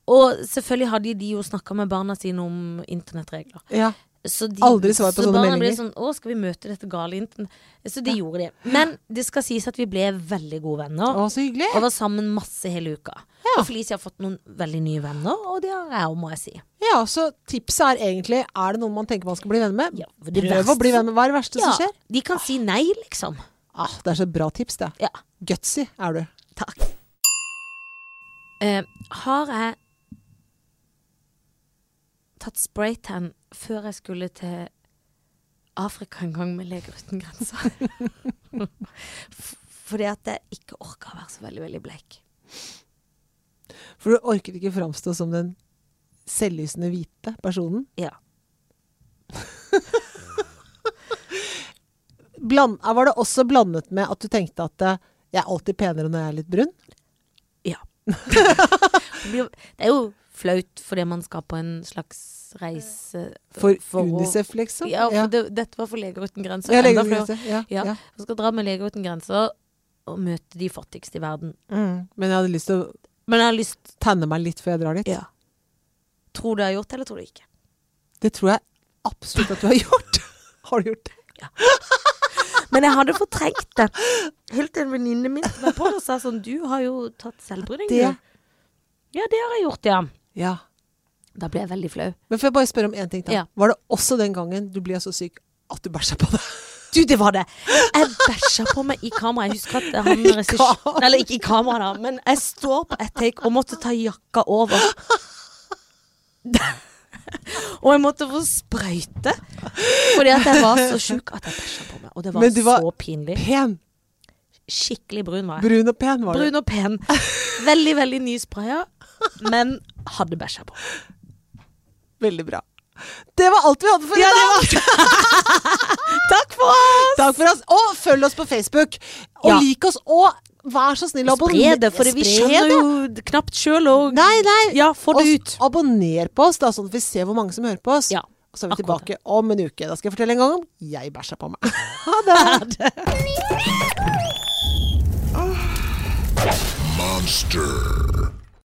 [SPEAKER 1] Og selvfølgelig hadde de jo snakka med barna sine om internettregler.
[SPEAKER 2] Ja.
[SPEAKER 1] Så de,
[SPEAKER 2] Aldri svar på
[SPEAKER 1] så
[SPEAKER 2] sånne
[SPEAKER 1] barna
[SPEAKER 2] meldinger.
[SPEAKER 1] Ble sånn, å, skal vi møte dette gale internett? Så det gjorde de. Men det skal sies at vi ble veldig gode venner.
[SPEAKER 2] Å, så hyggelig.
[SPEAKER 1] Og var sammen masse hele uka.
[SPEAKER 2] Ja.
[SPEAKER 1] Og Felicia har fått noen veldig nye venner, og det har jeg òg, må jeg si.
[SPEAKER 2] Ja, så tipset er egentlig Er det noen man tenker man skal bli venn med?
[SPEAKER 1] Ja, for det
[SPEAKER 2] Prøv
[SPEAKER 1] verste
[SPEAKER 2] å bli venn med. Hva er det verste som skjer?
[SPEAKER 1] de kan si nei, liksom.
[SPEAKER 2] Ah, det er så bra tips, det.
[SPEAKER 1] Ja,
[SPEAKER 2] Gutsy er du.
[SPEAKER 1] takk. Eh, har jeg tatt spraytan før jeg skulle til Afrika en gang med Leger uten grenser?
[SPEAKER 2] [LAUGHS]
[SPEAKER 1] F- Fordi at jeg ikke orka å være så veldig, veldig bleik.
[SPEAKER 2] For du orket ikke framstå som den selvlysende hvite personen.
[SPEAKER 1] Ja.
[SPEAKER 2] [LAUGHS] Bland, ah, var det også blandet med at du tenkte at eh, jeg er alltid penere når jeg er litt brun?
[SPEAKER 1] Ja. det blir jo- det er jo flaut fordi man skal på en slags reise
[SPEAKER 2] For,
[SPEAKER 1] å-
[SPEAKER 2] Unicef, liksom?
[SPEAKER 1] Ja, for
[SPEAKER 2] ja.
[SPEAKER 1] det, dette var for Leger uten grenser.
[SPEAKER 2] Ja,
[SPEAKER 1] enda
[SPEAKER 2] legger du
[SPEAKER 1] flauere.
[SPEAKER 2] til det? ja,
[SPEAKER 1] Ja.
[SPEAKER 2] ja.
[SPEAKER 1] Man skal dra med Leger uten grenser og møte de fattigste i verden.
[SPEAKER 2] Mm. Men jeg hadde lyst til å
[SPEAKER 1] Men jeg har lyst
[SPEAKER 2] tanne meg litt før jeg drar dit.
[SPEAKER 1] Ja. Tror du jeg har gjort det, eller tror du ikke?
[SPEAKER 2] Det tror jeg absolutt at du har [LAUGHS] gjort. har du gjort det?
[SPEAKER 1] Men jeg hadde fortrengt det. Helt til en venninne min som var på det og sa sånn Du har jo tatt selvbryning, du.
[SPEAKER 2] Det-
[SPEAKER 1] Ja, det har jeg gjort, ja.
[SPEAKER 2] Ja.
[SPEAKER 1] Da ble jeg veldig flau.
[SPEAKER 2] Men får jeg bare spørre om én ting, da.
[SPEAKER 1] Ja.
[SPEAKER 2] Var det også den gangen du ble så syk at du bæsja på deg?
[SPEAKER 1] Du, det var det! Jeg bæsja på meg i kamera. Jeg husker at han regissør...
[SPEAKER 2] kamera.
[SPEAKER 1] Eller ikke i kamera, da, men jeg står på et take og måtte ta jakka over. og jeg måtte få sprøyte. Fordi at jeg var så sjuk at jeg bæsja på meg. Og det var,
[SPEAKER 2] Men du var-
[SPEAKER 1] så pinlig.
[SPEAKER 2] Pen!
[SPEAKER 1] Skikkelig brun var jeg.
[SPEAKER 2] Brun og pen var du.
[SPEAKER 1] Brun og pen. Veldig, veldig nyspraya, men hadde bæsja på.
[SPEAKER 2] Veldig bra. Det var alt vi hadde for i dag!
[SPEAKER 1] Takk for oss!
[SPEAKER 2] Takk for oss. Og før følg oss på Facebook! Og
[SPEAKER 1] Ja.
[SPEAKER 2] lik oss! Og vær så snill,
[SPEAKER 1] Spre det, for vi
[SPEAKER 2] Spre
[SPEAKER 1] skjønner
[SPEAKER 2] det.
[SPEAKER 1] jo knapt sjøl og
[SPEAKER 2] Nei, nei!
[SPEAKER 1] Ja, få det
[SPEAKER 2] Og
[SPEAKER 1] ut.
[SPEAKER 2] abonner på oss, da, sånn at vi ser hvor mange som hører på oss.
[SPEAKER 1] Ja,
[SPEAKER 2] Og så er vi
[SPEAKER 1] akkurat.
[SPEAKER 2] tilbake om en uke. Da skal jeg fortelle en gang om jeg bæsja på meg. [LAUGHS] Ha det!
[SPEAKER 4] Monster.